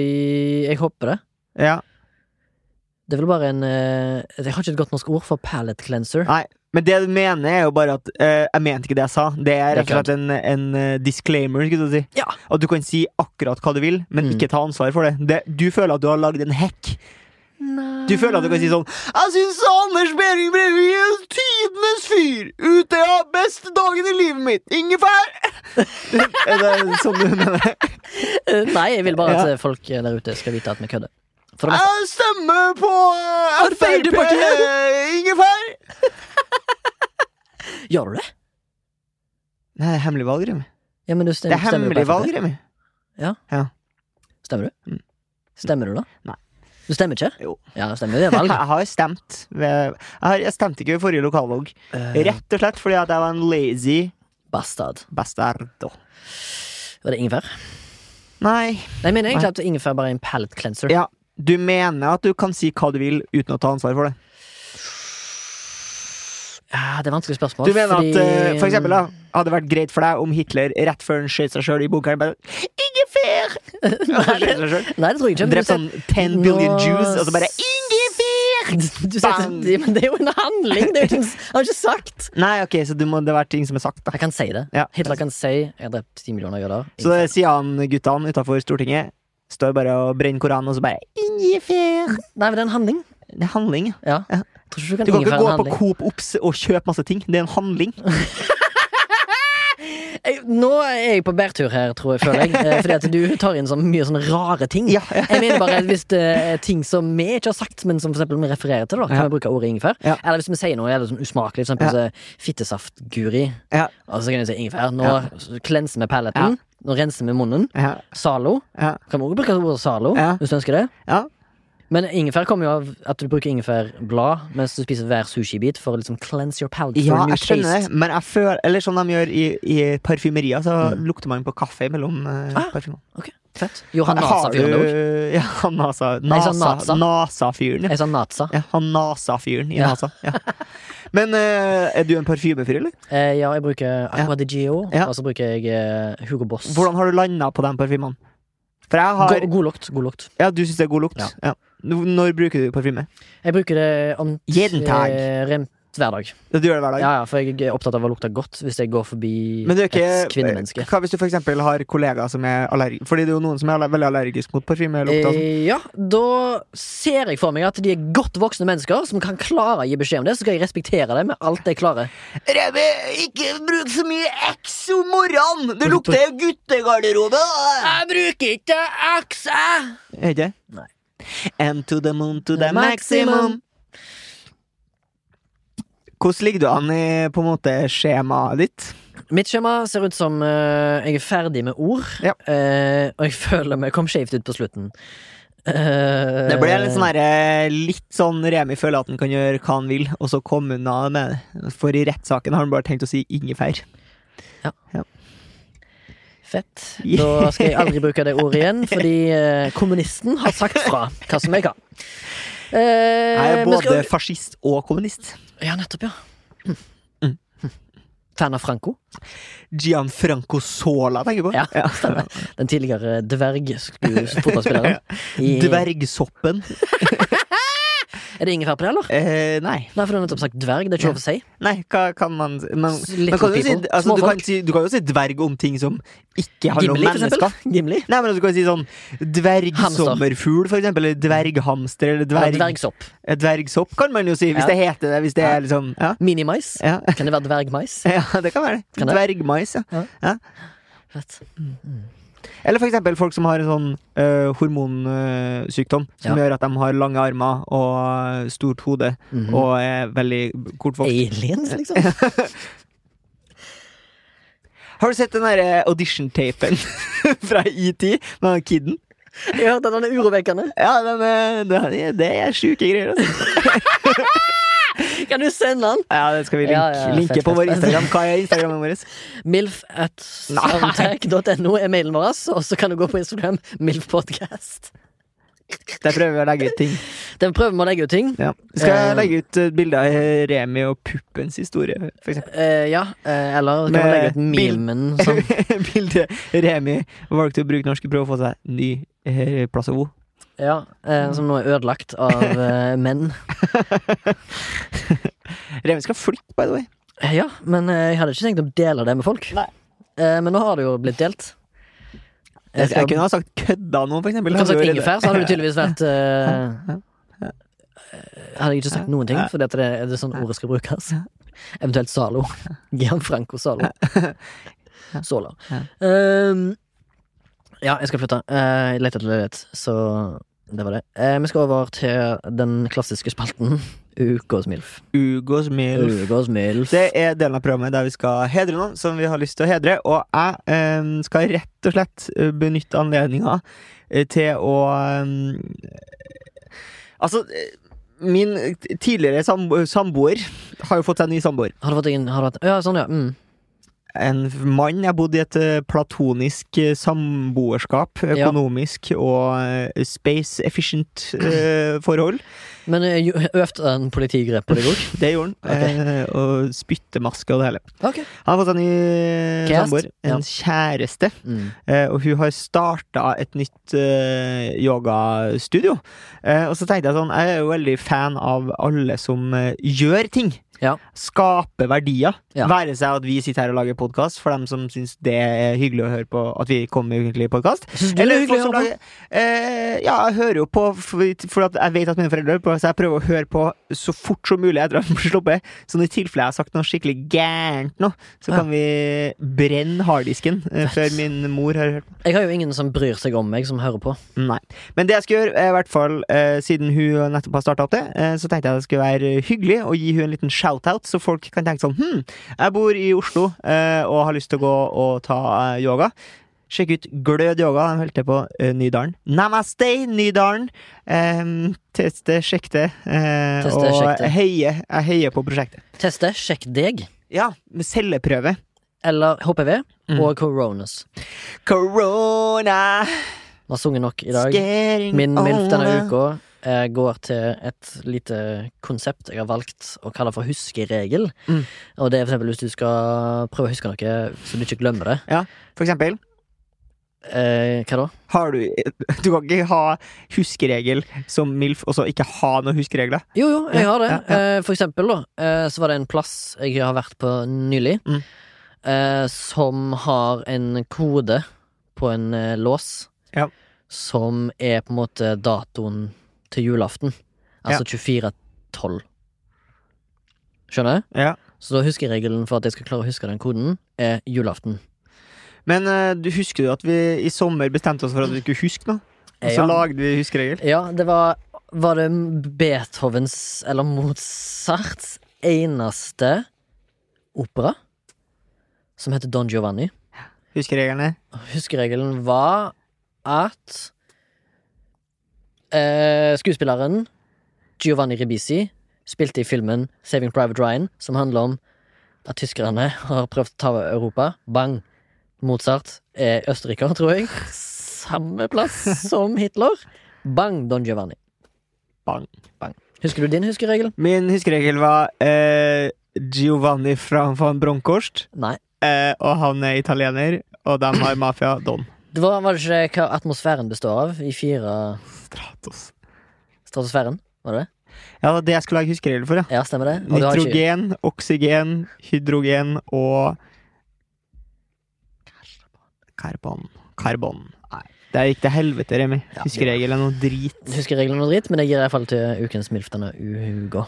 A: jeg håper det.
B: Ja.
A: Det er vel bare en eh, Jeg har ikke et godt norsk ord for palette cleanser.
B: Nei, men det du mener er jo bare at eh, Jeg mente ikke det jeg sa. Det er rett og slett en, en eh, disclaimer. Skulle du si.
A: Ja.
B: At du kan si akkurat hva du vil, men
A: Mm.
B: ikke ta ansvar for det. det. Du føler at du har lagd en hack. Du føler at du kan si sånn Jeg syns Anders Behring Breivik er tidenes fyr! Ute av beste dagen i livet mitt! Ingefær! er det sånn du mener?
A: Eh, Nei, jeg vil bare at
B: Ja.
A: eh, folk der ute skal vite at vi kødder. For det meste.
B: Jeg stemmer på eh, Frp!
A: Arbeiderpartiet!
B: eh, Ingefær! Ah!
A: Gjør du det?
B: Nei, det er hemmelig valg, Remi.
A: Ja, men du
B: Det
A: stemmer,
B: er
A: stemmer du på
B: hemmelig
A: FrP?
B: valg, Remi.
A: Stemmer du?
B: Mm.
A: Stemmer du, da?
B: Nei.
A: Du stemmer ikke?
B: Jo.
A: Ja, det stemmer. Det er valg.
B: Jeg har stemt. ved- Jeg, har, jeg stemte ikke ved forrige lokalvalg.
A: Eh,
B: Rett og slett fordi at jeg var en lazy
A: Bastard.
B: bastardo.
A: Var det ingefær?
B: Nei,
A: Nei, Jeg mener egentlig at ingefær bare er en palate cleanser.
B: Ja. du mener at du kan si hva du vil uten å ta ansvar for det.
A: Ja, det er vanskelige spørsmål.
B: Du mener at
A: fordi-
B: eh, for eksempel, da, hadde det vært greit for deg om Hitler rett før han skjøt seg sjøl i bunkeren bare Ingefær! Og så skjøt seg selv.
A: Nei, det tror jeg ikke. men
B: Drept sånn 10 billion
A: Nå-
B: Jews, og så bare Ingefær!
A: Du, du setter,
B: Bang!
A: Ja, men det er jo en handling! Det er jo ikke, han har ikke sagt
B: Nei, ok, så det må det være ting som er sagt, da.
A: Jeg kan si det.
B: Ja.
A: Hitler kan si 'jeg har drept ti millioner jøder'.
B: Så det sier han guttene utafor Stortinget. Står bare og brenner Koranen, og så bare Ingefær!
A: Nei, men det er en handling.
B: Det er handling, ja.
A: Ja.
B: Ja.
A: Jeg tror ikke du kan
B: Du kan ikke
A: ingefær en
B: gå på
A: handling.
B: Coop Ops og kjøpe masse ting. Det er en handling.
A: Jeg, nå er jeg på bærtur her, tror jeg, føler jeg. eh, Fordi at du tar inn så mye sånne rare ting.
B: Ja, ja.
A: Jeg mener bare at Hvis det er ting som vi ikke har sagt, men som for eksempel vi refererer til, da, kan
B: Ja.
A: vi bruke ordet ingefær.
B: Ja.
A: Eller hvis vi sier noe jævlig sånn usmakelig, for
B: Ja.
A: eksempel så, fittesaftguri,
B: Ja.
A: og så kan du si ingefær. Nå
B: Ja.
A: s- klenser vi paletten. Nå renser vi munnen.
B: Ja,
A: Zalo.
B: ja,
A: Kan vi også bruke ordet zalo,
B: Ja.
A: hvis du ønsker det.
B: ja.
A: Men ingefær kommer jo av at du bruker ingefærblad mens du spiser hver sushibit for å liksom cleanse your palate
B: ja
A: for a new
B: jeg skjønner det,
A: taste.
B: men jeg føler Eller som de gjør i, i parfymerier, så lukter man på kaffe mellom eh,
A: Ah.
B: parfymene.
A: Ok, fett. Johan
B: Har Mm. du
A: Nasa-fyren òg.
B: Ja, han NASA.
A: Nei, sånn NASA.
B: NASA. NASA-fyren, ja.
A: Jeg sa Natsa.
B: ja. Han NASA-fyren i
A: Ja.
B: NASA. Ja. Men eh, er du en parfymefyr, eller?
A: Eh, ja, jeg bruker Aqua di Gio,
B: Ja.
A: og så bruker jeg eh, Hugo Boss.
B: Hvordan har du landa på de parfymene? For jeg har
A: God, god lukt. god lukt
B: Ja, du syns det er god lukt?
A: Ja.
B: Ja. Når bruker du parfyme?
A: Jeg bruker det om
B: Jeden Tag.
A: eh, rem- hver dag.
B: Du gjør det hver dag?
A: Ja, ja, for jeg er opptatt av å lukte godt hvis jeg går forbi
B: Men du er
A: et
B: ikke Eh,
A: kvinnemenneske.
B: Hva hvis du for eksempel har kollegaer som er allergiske Fordi det er jo noen som er aller, veldig allergisk mot parfymelukta. og sånn.
A: Eh, Ja, da ser jeg for meg at de er godt voksne mennesker som kan klare å gi beskjed om det. Så skal jeg respektere det med alt jeg klarer.
B: Remi, ikke bruk så mye X om morgenen! Det lukter guttegarderobe!
A: Jeg bruker ikke akse!
B: Er ikke det?
A: Nei.
B: And to the moon to the maximum. Hvordan ligger du an i på en måte skjemaet ditt?
A: Mitt skjema ser ut som eh, jeg er ferdig med ord,
B: Ja.
A: eh, og jeg føler vi kom skjevt ut på slutten. Eh,
B: Det ble litt sånn herre Litt sånn Remi føler at han kan gjøre hva han vil, og så komme unna med det. For i rettssaken har han bare tenkt å si ingefær.
A: Fett. Da skal jeg aldri bruke det ordet igjen, fordi eh, kommunisten har sagt fra hva som jeg kan. Eh,
B: Jeg er
A: vi
B: både
A: skal-
B: fascist og kommunist.
A: Ja, nettopp, ja. Fan av Franco.
B: Gianfranco Sola, tenker jeg på.
A: Ja, stemmer. Den tidligere dverg-fotballspilleren. I-
B: Dvergsoppen.
A: Er det ingefær på det, eller?
B: Eh, nei.
A: Nei, for du har nettopp sagt dverg. Det er ikke lov å si.
B: Nei, hva kan man men,
A: S-
B: men
A: little
B: kan du, si,
A: people.
B: altså,
A: Små
B: du, kan
A: folk.
B: si, du kan jo si dverg om ting som ikke handler om
A: Gimli, for
B: mennesker.
A: eksempel. Gimli.
B: Nei, men du kan si sånn dvergsommerfugl, for eksempel. Eller dverghamster,
A: Eller
B: eller dverg,
A: dvergsopp.
B: eh, dvergsopp, kan man jo si. Hvis
A: Ja.
B: det heter det. Hvis det
A: Ja.
B: er liksom Ja,
A: Minimais.
B: ja,
A: Kan det være dvergmais?
B: ja det kan være det.
A: Kan det?
B: Dvergmais, ja.
A: Ja.
B: ja.
A: Fett.
B: Eller for eksempel folk som har en sånn hormonsykdom som
A: Ja.
B: gjør at de har lange armer og stort hode
A: Mhm.
B: og er veldig kortvokst.
A: Aliens, liksom?
B: Har du sett den derre audition-tapen fra ET med han kiden?
A: Jeg hørte at han er urovekkende.
B: Ja, den, er- den, er- det er sjuke greier, altså.
A: Kan du sende han?
B: Ja, det skal vi linke,
A: Ja, ja, fett,
B: linke på
A: fett,
B: vår
A: fett.
B: Instagram. Hva er Instagrammen vår?
A: Milf at soundtrack.no er mailen vår, altså. og så kan du gå på Instagram. Milfpodcast.
B: Der prøver vi å legge ut ting.
A: Den prøver vi å legge ut ting.
B: Ja. Skal
A: Eh.
B: jeg legge ut eh, bilder av Remi og puppens historie, for eksempel?
A: Eh, ja, eh, eller kan vi
B: Med
A: legge ut
B: bil-
A: memen som
B: Bildet Remi valgte å bruke norske prøver å få seg ny eh, plass å bo.
A: Ja, eh, som nå er ødelagt av eh, menn.
B: Remi skal flytte, by the way.
A: Eh, Ja, men eh, jeg hadde ikke tenkt å dele det med folk.
B: Nei.
A: Eh, men nå har det jo blitt delt.
B: Jeg,
A: Jeg skal,
B: kunne ha sagt kødda nå, for eksempel.
A: du kan
B: Hadde
A: sagt
B: jo reddet-
A: ingefær, så hadde du tydeligvis vært eh, Hadde jeg ikke sagt noen ting, for det er det sånn ordet skal brukes. Eventuelt Zalo. Gianfranco Zalo. Sola. Um, ja, jeg skal flytte. Eh, Jeg leter etter leilighet, så det var det. Eh, Vi skal over til den klassiske spalten Ukas MILF.
B: Ugos Milf.
A: Ukas MILF.
B: Det er delen av programmet der vi skal hedre noen som vi har lyst til å hedre. Og jeg eh, skal rett og slett eh, benytte anledninga eh, til å eh, Altså, eh, min tidligere sambo- samboer har jo fått seg ny samboer.
A: Har du fått inn har du hatt, Ja, sånn, ja. Mm.
B: En mann jeg bodde i et eh, platonisk eh, samboerskap.
A: Ja.
B: Økonomisk og eh, space efficient eh, forhold.
A: Men eh, jo- øvde han politigrep på deg òg?
B: Det gjorde han.
A: Ok.
B: Eh, og spyttemaske og det hele.
A: Okay.
B: Han har fått seg ny eh,
A: Kjæreste?
B: samboer. En
A: Ja.
B: kjæreste.
A: Mm.
B: Eh, og hun har starta et nytt eh, yogastudio. Eh, og så tenkte jeg sånn, jeg er jo veldig fan av alle som eh, gjør ting.
A: Ja.
B: Skaper verdier.
A: Ja.
B: Være seg at vi sitter her og lager podkast, for dem som syns det er hyggelig å høre på at vi kommer med ukentlig podkast.
A: Syns du det
B: Eller
A: er
B: folk
A: hyggelig?
B: som
A: å høre på?
B: lager eh, Ja, jeg hører jo på, for, for at jeg vet at mine foreldre hører på, så jeg prøver å høre på så fort som mulig etter at jeg blir sluppet. Så i tilfelle jeg har sagt noe skikkelig gærent nå, så
A: Ja.
B: kan vi brenne harddisken eh, før min mor har hørt
A: Jeg har jo ingen som bryr seg om meg, som hører på.
B: Nei. Men det jeg skulle gjøre, er i hvert fall eh, siden hun nettopp har starta opp det, eh, så tenkte jeg det skulle være eh, hyggelig å gi hun en liten shout-out, så folk kan tenke sånn Hm, jeg bor i Oslo eh, og har lyst til å gå og ta eh, yoga. Sjekk ut Glød yoga. De holder til på eh, Nydalen. Namaste, Nydalen! Eh, teste, sjekk det. Eh,
A: Teste,
B: og
A: sjekk det.
B: jeg heier, jeg heier på prosjektet.
A: Teste, sjekk deg,
B: Ja, med celleprøve.
A: eller HPV,
B: Mm.
A: og coronas.
B: Corona
A: Vi har sunget nok i dag.
B: scaring
A: Min MILF denne
B: over.
A: uka eh, går til et lite konsept jeg har valgt å kalle for huskeregel.
B: Mm.
A: Og det er for eksempel hvis du skal prøve å huske noe så du ikke glemmer det.
B: For eksempel.
A: Eh, hva da?
B: Har du Du kan ikke ha huskeregel som MILF, og så ikke ha noen huskeregler.
A: Jo, jo, jeg
B: Ja,
A: har det.
B: ja, ja.
A: Eh, For eksempel, da, eh, så var det en plass jeg har vært på nylig,
B: Mm.
A: eh, som har en kode på en eh, lås
B: Ja.
A: som er på en måte datoen til julaften. Altså 24.12. Skjønner jeg?
B: Ja.
A: Så da husker regelen for at jeg skal klare å huske den koden, er julaften.
B: Men eh, du husker du at vi i sommer bestemte oss for at vi skulle huske noe? Og så
A: Ja.
B: lagde vi huskeregel?
A: Ja, det var Var det Beethovens Eller Mozarts eneste opera Som heter Don Giovanni
B: Huskereglene?
A: Huskeregelen var at eh, Skuespilleren Giovanni Ribisi Spilte i filmen Saving Private Ryan Som handler om at tyskerne har prøvd å ta over Europa Bang Mozart er østerriker, tror jeg Samme plass som Hitler Bang Don Giovanni
B: Bang.
A: Husker du din huskeregel?
B: Min huskeregel var eh, Giovanni fra van Bronckhorst,
A: Nei.
B: eh, og han er italiener, og de har mafia Don.
A: Det var, var det ikke hva atmosfæren består av i fire
B: Stratos.
A: stratosfæren? Var det det?
B: Ja, det var det jeg skulle lage huskeregel for, ja.
A: Ja, stemmer det? Og du har ikke
B: Nitrogen, oksygen, hydrogen og Karbon. Karbon. Nei, det gikk til helvete, Remi.
A: Ja.
B: Huskeregel er noe drit.
A: huskeregelen og dritt, men jeg gir i hvert fall til ukens MILF denne uhuga.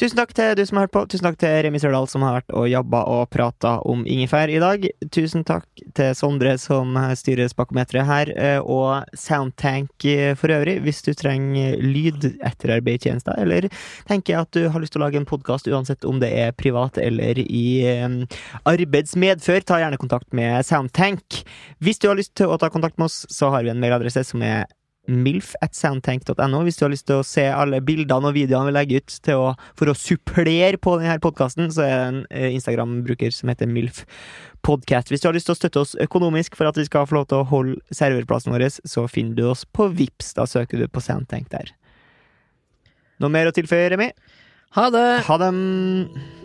B: Tusen takk til du som har hørt på. Tusen takk til Remi Sørdal, som har vært og jobba og prata om ingefær i dag. Tusen takk til Sondre, som styrer spakometeret her, eh, og Soundtank eh, for øvrig. Hvis du trenger lyd etter arbeidstjenester, eller tenker at du har lyst til å lage en podkast, uansett om det er privat eller i eh, arbeidsmedfør, ta gjerne kontakt med Soundtank. Hvis du har lyst til å ta kontakt med oss, så har vi en mailadresse som er milf at soundtank.no hvis du har lyst til å se alle bildene og videoene vi legger ut til å, for å supplere på denne podkasten, så er det en eh, Instagram-bruker som heter milf podcast. Hvis du har lyst til å støtte oss økonomisk for at vi skal få lov til å holde serverplassen vår, så finner du oss på Vips. Da søker du på Soundtank der. Noe mer å tilføye, Remi?
A: Ha det!
B: Ha dem!